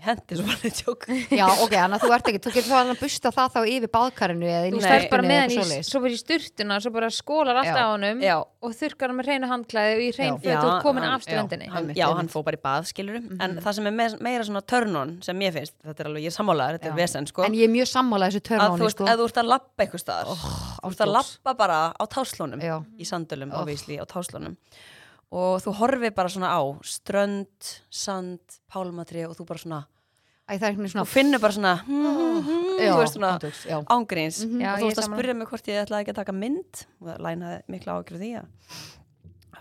S1: ég hendi svo bara tjók
S2: Já, ok, þannig að þú ert ekki, þú getur þá alveg að busta það þá yfir báðkarinu eða inn
S3: Þú
S2: í
S3: stærst bara
S2: stelpunni
S3: með
S2: eða
S3: hann
S2: eitthvað
S3: í,
S2: svoleiðis.
S3: svo bara í sturtuna, svo bara skólar allt
S2: Já.
S3: á honum
S1: já
S3: og þurkar hann með hreinu handklæði og í hrein
S2: Já.
S3: föt og ert komin
S1: hann-
S3: af ströndinni.
S1: já, hann,
S2: Einmitt,
S1: já,
S2: einmitt. Mhm.
S1: hann fó bara í bað, skilur en það sem er me- meira svona törnun sem ég finnst, þetta er alveg, ég er sammálaður þetta er
S2: Já.
S1: vesen, sko
S2: En ég er mjög sammálað
S1: að
S2: þessu
S1: þú
S2: törmáni,
S1: veist,
S2: sko.
S1: ef þú ert að lappa einhver staðar þú ert að
S2: ándjóks.
S1: lappa bara á táslónum
S2: Já.
S1: í sandölum,
S2: Oh.
S1: oh. obviously, á táslónum og þú horfir bara svona á strönd, sand, pálmatri og þú bara svona,
S2: Æ, það er einhvern veginn
S1: þú
S2: svona,
S1: finnur bara svona hmm, hmm, hmm,
S2: Oh, já,
S1: þú veist svona
S2: ándjóks, já.
S1: ángríns
S2: Mhm.
S3: Já,
S1: og
S3: ég
S1: þú veist
S3: er
S1: að
S3: sammála.
S1: spyrja mig hvort ég ætlaði ekki að taka mynd og það lænaði mikla ágjur því að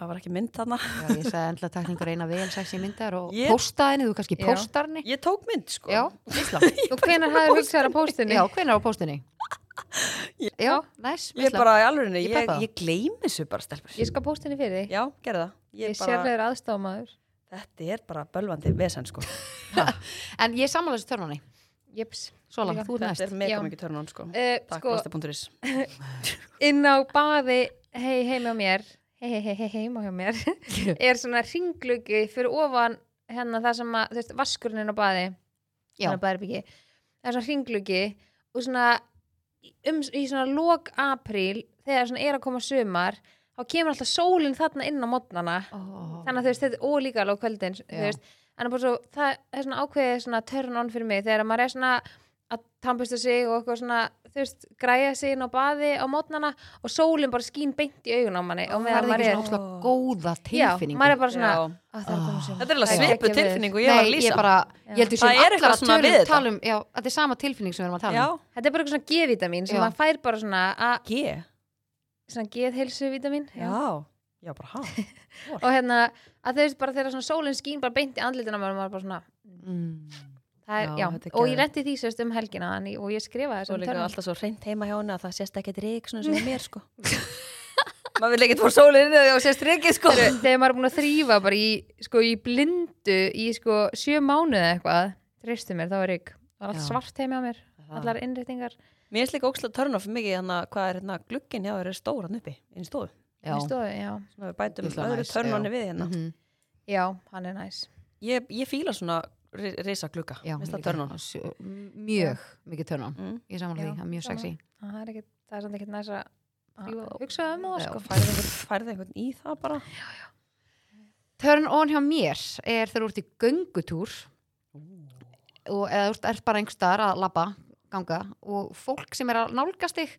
S1: það var ekki mynd þarna
S2: já, ég sagði endla tekningur eina vel sexi myndar og
S1: Ég-
S2: posta henni, þú kannski
S3: Já.
S2: postar henni.
S1: ég tók mynd sko
S2: Já, veistla.
S3: Og hvenær hafði hugsað þér á póstinni?
S2: Já, hvernig er á postinni? Já, næs,
S1: ég
S2: veistla.
S1: bara í alveg,
S2: Ég
S1: ég,
S2: peppa
S1: ég,
S2: það.
S1: gleymi þessu bara stelpur
S3: Ég skal póstinni fyrir þig.
S1: já, gerði það
S3: Ég
S1: ég
S3: er
S1: bara,
S3: sérlegur aðstofamaður.
S1: þetta er bara bölvandi vesen sko
S2: En ég er sammálað þessu törmáni.
S3: Jeps.
S2: Sola,
S3: Líka.
S2: þú ert
S1: þetta
S2: næst. Eh,
S1: er mega
S3: Já.
S1: mikið törnum sko
S3: Uh,
S1: Takk,
S3: sko,
S1: besta.is
S3: inn á baði hei heima á mér hei hei hei heima hjá mér er svona ringlugi fyrir ofan hérna það sem að, þú veist, vaskurinn er á baði
S2: Já.
S3: hann á baðherbyggi það er svona hringlugi og svona um, í svona lok apríl þegar svona er að koma sumar þá kemur alltaf sólin þarna inn á modnana
S2: oh.
S3: þannig að þú veist, þetta er ólíka alveg á kvöldin þú
S2: Já.
S3: veist, en það er bara svo það er svona ákveðið svona turn on fyrir mig þegar maður er svona að tampusta sig og eitthvað svona, þú veist, græja sig inn á baði á mótnana og sólin bara skín beint í augun á manni og meðan
S2: það er
S3: maður
S2: ekki
S3: er
S2: svona óslega góða
S3: já,
S2: tilfinningu
S3: maður er bara svona,
S1: Já.
S3: "Á, það er komið
S2: Ah.
S3: sumar."
S1: Þetta er alveg
S3: Það
S1: svipu
S3: ekki við.
S1: tilfinningu ég var að
S2: Nei,
S1: lýsa.
S2: ég bara,
S3: Já.
S2: ég held við
S1: Það er
S2: séum
S1: eitthvað
S2: allar að
S1: svona við
S2: tölum,
S1: þetta.
S2: tölum já, þetta er sama tilfinning sem við erum að tala
S1: Já,
S2: um
S3: Þetta er bara eitthvað svona G-vitamin sem
S2: Já.
S3: maður fær bara svona að,
S1: G,
S3: svona G-heilsu-vitamin
S1: já, já bara hann.
S3: og hérna, að þau veist bara þegar svona sólin skín bara beint í andlitina á manni og maður er bara svona
S2: mm.
S3: það er,
S1: Já,
S3: já,
S1: þetta er
S3: og ég
S1: geðveikt.
S3: lendi því sérst um helgina en ég- og ég skrifaði
S1: Svo
S3: þessum
S1: líka
S3: törnum.
S1: alltaf svo reynd heima hjá henni að það sést ekkert rík svona sem er mér sko. Maður vil ekkert fór sólinn eða það sést ríkið sko.
S3: Heru, þegar maður er búin að þrýfa bara í, sko, í blindu í sko, sjö mánuði eða eitthvað treystu mér, þá er ég það er allt
S1: Já.
S3: svart heima á mér,
S1: Það-
S3: allar innréttingar
S1: Mér finnst líka ókslega törn á fyrir mikið hann að hvað er hérna glugginn hjá þér er stór hann uppi inn í stofu.
S2: já.
S3: í stofu, já.
S1: Svona við bætum
S2: Ógeðslega
S1: öðru
S2: næs,
S1: törnunni
S2: já.
S1: við hérna.
S2: Mhm.
S3: já, hann er næs
S1: Ég, ég fíla svona ri- risa glugga.
S2: Já,
S1: Mér finnst það
S2: líka.
S1: törn á.
S2: Sjö- mjög mikið törnum
S1: Mm.
S2: ég samanlega
S3: Já,
S2: því, það er mjög
S3: gaman.
S2: sexy
S3: það er, ekki, það er samt ekkert næs að
S2: Jú,
S3: að hugsa um það
S2: já.
S3: sko.
S1: Færði einhvern, færði einhvern í það bara.
S2: Turn on hjá mér er þegar þú ert í göngutúr og eða þú ert- ert bara einhver staðar að labba, ganga og fólk sem er að nálgast þig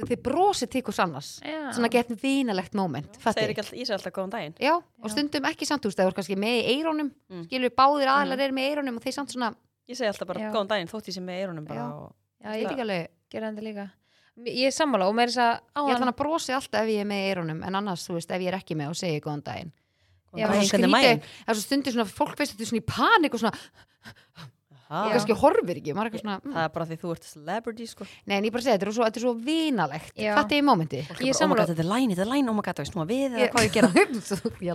S2: þið brosið til hvers annars
S3: Já.
S2: svona gett vinalegt moment
S1: Það er
S2: fattir?
S1: ekki alltaf, ég segir alltaf góðan daginn.
S2: Já, og stundum ekki samt úr stæður kannski með í eirónum
S1: Mm.
S2: skilur báðir aðlar eru með í eirónum og þeir samt svona,
S1: Ég segi alltaf bara
S3: Já.
S1: góðan daginn þótt ég sem með eirunum bara.
S2: Já.
S1: Og,
S3: já,
S2: ég veit
S3: ég
S2: ekki alveg
S3: gera þetta líka ég er sammála og mér er þess að á
S2: ég ætla
S3: hann
S2: hann að brosi alltaf ef ég er með í eirónum en annars, þú veist, ef ég er ekki með og segi góðan daginn
S1: góðan
S3: Já,
S1: daginn,
S2: Skrýti-
S1: hvernig er maginn?
S2: það er svo stundir svona, fólk veist þetta er svona í panik og svona,
S1: Ha,
S3: Já.
S2: kannski horfir ekki, maður er eitthvað svona mm.
S1: Það er bara því þú ert celebrity sko.
S2: Nei, en ég bara segi, þetta er svo, þetta er svo vinalegt
S3: Já.
S2: Þetta er í mómenti
S3: Ég er
S1: Bara, oh my
S3: sammála.
S1: god, þetta er læn, þetta er læn, oh my god, það er snúa við eða
S2: Ég-
S1: hvað ég gera.
S2: Ég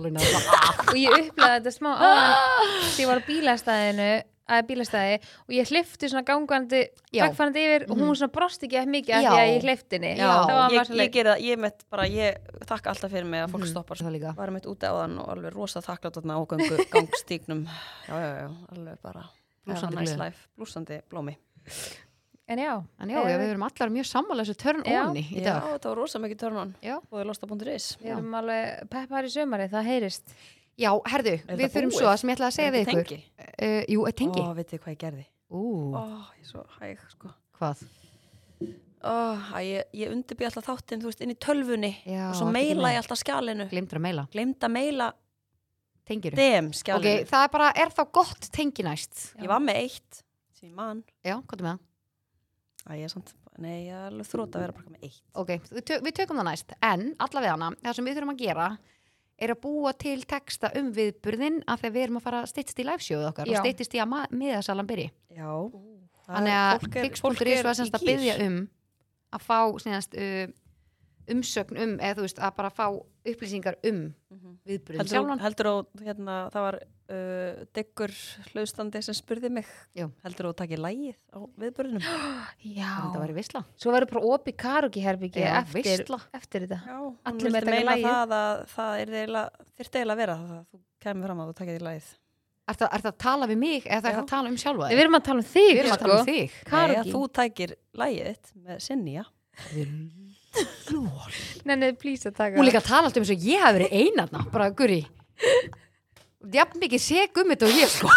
S2: alveg náðu það.
S3: og ég upplæði þetta smá áðan þegar ég var á bílastæðinu að bílastæði og ég hlifti svona gangandi
S2: Já. Mhm.
S3: gangfærandi yfir og hún svona brosti ekki að mikið af
S2: Já.
S3: því að ég hlifti henni
S2: Já.
S3: það var
S1: Ég,
S3: maður
S1: ég
S3: svona
S1: gera það, ég mitt bara, ég þakka alltaf fyrir mig að
S2: Mhm.
S1: fólk stoppar sko.
S2: Það líka.
S1: Varum mitt úti á þann og alveg rosa þakklátt þarna á göngu, gangstíknum. Já, já, já, alveg bara
S2: Blússandi
S1: blúsandi nice
S2: gleði.
S1: life, blúsandi blómi.
S3: en já,
S2: En já, já, við erum allar mjög sammála þessu törn
S3: Já.
S2: onni
S1: Já,
S2: í dag.
S1: þetta var rosa mikið törnun.
S2: Já.
S1: Bóði losta.is.
S3: við erum alveg peppar í sömari það heyrist
S2: Já, herðu,
S1: þetta
S2: við þurfum
S1: búið?
S2: svo að sem ég ætla að segja við ykkur.
S1: Tengi.
S2: Uh, jú, eitt tengi.
S1: Ó, veitir hvað ég gerði?
S2: Ú,
S1: Ó, ég er svo hæg, sko.
S2: hvað?
S1: Ó, að ég, ég undirbý alltaf þáttinn, þú veist, inn í tölvunni.
S2: Já,
S1: og svo
S2: ertu
S1: meila
S2: búin?
S1: ég alltaf skjalinu.
S2: Glimtur að meila.
S1: Glemt að meila
S2: Tengiru.
S1: dem
S2: Ok,
S1: skjalinu.
S2: það er bara, er þá gott tengi næst?
S1: Ég var með eitt, sem ég man.
S2: Já, hvað er með það?
S1: Æ, ég er samt, nei, ég er alveg þrótt að vera bara með eitt.
S2: Ok, við tö- við tökum það næst. En, allavega hana, það sem við þurfum að gera er að búa til texta um viðburðin af því að við erum að fara stýttist í livesjóðu okkar
S3: Já.
S2: og stýttist í að ma- miðasalan byrji.
S1: Já. Það
S2: Þannig
S1: er-
S2: að
S1: fólk er- fólk
S2: fix.is
S1: er
S2: var
S1: í
S2: semst að
S1: gír.
S2: byggja um að fá senast, uh, umsögn um eða þú veist að bara fá upplýsingar um
S1: Mhm.
S2: viðbröðum
S1: Heldur þú,
S2: sjálfan
S1: heldur þú, hérna, það var uh, deggur hlaustandi sem spurði mig.
S2: Já.
S1: Heldur þú að taki lægið á viðbörunum?
S2: þetta
S3: já,
S2: væri visla
S3: svo verður bara opið karugi herbyggi
S2: Já,
S3: eftir,
S2: veisla.
S3: eftir þetta
S1: Já, hún
S3: Allir
S1: vildi
S3: með taka
S1: meina
S3: lagið.
S1: það að það er eiginlega, þyrfti eiginlega að vera það, að þú kemur fram að þú takir því lægið.
S2: er það, er það að tala við mig eða það er
S1: Já.
S2: það að tala um sjálfa
S3: við
S2: þig?
S3: erum að tala um þig
S2: við erum að tala um
S1: sko.
S2: þig
S1: Nei, að
S3: karugi,
S1: þú takir lægið þitt með sinni, já.
S3: nei, nei, please að taka
S2: hún líka að tala alltaf um svo ég hafi verið einarna bara guri jafn mikið seg um þetta og ég sko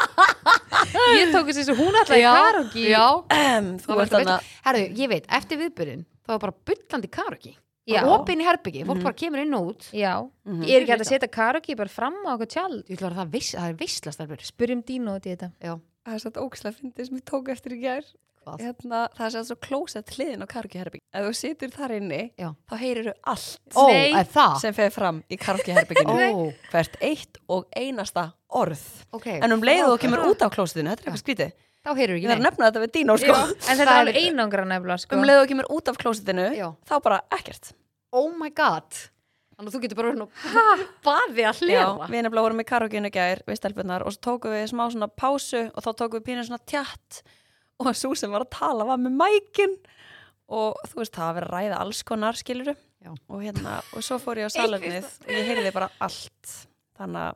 S3: það. ég tók þess að hún alltaf í karugi
S2: já
S1: þú ert þannig að,
S2: herru ég veit eftir viðbröðin þá er bara byllandi karugi
S3: Já.
S2: opin í herbyggi fólk bara kemur inn og út
S3: já,
S2: Mm.
S1: Mhm.
S3: ég er ekki hægt að setja karugi bara fram á okkur tjald
S2: ég ætla að það, veis, það er veislastarfur
S3: spyrjum dínu út í þetta
S2: já
S1: það er satt ógislega fyndið sem ég tók eftir í gær.
S2: Hvað?
S1: Hérna, það er satt svo klósett hliðin á karkiherbygg. Ef þú situr þar inni,
S2: Já.
S1: þá heyriru allt
S2: Ó,
S3: Nei.
S2: er það?
S1: sem fer fram í karkiherbygginu.
S2: Ó,
S1: hvert eitt og einasta orð
S2: ok.
S1: en um leiðu og kemur út af klósitinu þetta er eitthvað skrítið,
S2: Þá heyrur
S1: ég
S2: ekki
S1: þarf að
S2: neitt.
S1: nefna þetta við Dino sko.
S3: en þetta er
S2: Það er-
S3: alveg einangra nefnilega sko.
S1: um leiðu og kemur út af klósitinu
S2: Já.
S1: þá bara ekkert
S2: Oh my god. Þannig að þú getur bara verið að baði að
S1: Já,
S2: hlera.
S1: við nefnilega vorum í karaokeinu í gær við stelpunar og svo tókum við smá svona pásu og þá tókum við pínu svona tjatt og svo sem var að tala var með mækin og þú veist það var að vera að ræða alls konar skiluru
S2: Já.
S1: og hérna og svo fór ég á salernið og ég heyrði bara allt þannig að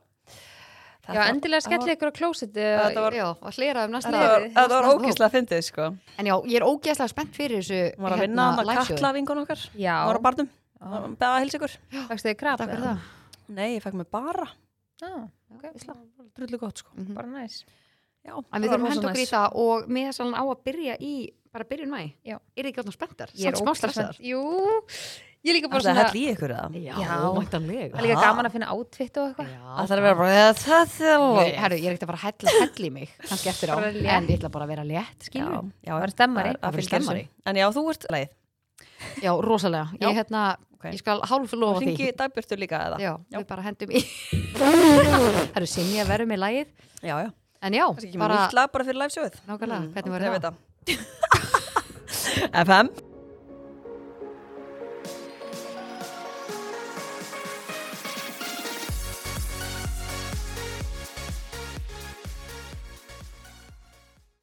S3: Já, endilega skellið ykkur á klósiti
S1: Þetta var-
S2: já, og hlera um næsta
S1: Þetta var,
S3: Nei,
S1: þetta var
S2: næsta hóp.
S1: ógíslega fyndið, sko.
S2: en já, ég er ógeðslega spennt fyrir þessu hérna,
S1: Hún var að vinna hann að
S2: liveshow.
S1: kalla vingun okkar.
S3: Já,
S1: Hún var á barnum. Hún var að beða að helsa ykkur.
S3: fækst þið krab
S2: takk fyrir
S3: eða?
S2: það
S1: Nei, ég fekk mig bara.
S3: Já, ok,
S2: Veisla.
S1: Drullu gott, sko.
S2: Mhm.
S3: bara næs
S1: Já,
S2: en
S1: það
S2: við
S1: var
S2: þurfum að
S1: rosa
S2: henda okkur í
S1: næs.
S2: það og mér þess að hann á að byrja í bara byrjun mæ,
S3: Já.
S2: er þið ekki alltaf spenntar
S3: Ég er
S2: samt smá
S3: ógeðslega
S2: stressaðar
S3: spennt. Jú, ég er líka bara
S1: Ætlaði að
S3: svona
S1: hella í ykkur eða?
S3: Já.
S2: væntanlega
S3: Það er líka
S1: Ha?
S3: gaman að finna átfitt og eitthvað
S1: Það þarf að vera bara, það er
S2: Nei, herru, ég er ekkert að fara að hella, hella í mig kannski eftir á,
S3: Bara létt.
S2: en ég ætla bara að vera létt
S1: Já,
S2: skilur,
S1: já,
S3: Það er stemmari.
S1: að- að
S2: Það er
S1: fylgja
S2: stemmari.
S1: þessu. En já, þú ert leið.
S2: já, rosalega
S1: Já.
S2: ég, hérna,
S1: Ok.
S2: ég skal hálf lofa því
S1: Ringi dagbjörtu líka eða?
S2: já, við bara hendum í herru, sinni að vera með lægið
S1: já. já.
S2: en já,
S1: Kannski ekki bara... Mm,
S2: bara
S1: nýtt lag bara fyrir live sjóið.
S2: Nákvæmlega, hvernig verður
S1: það? FM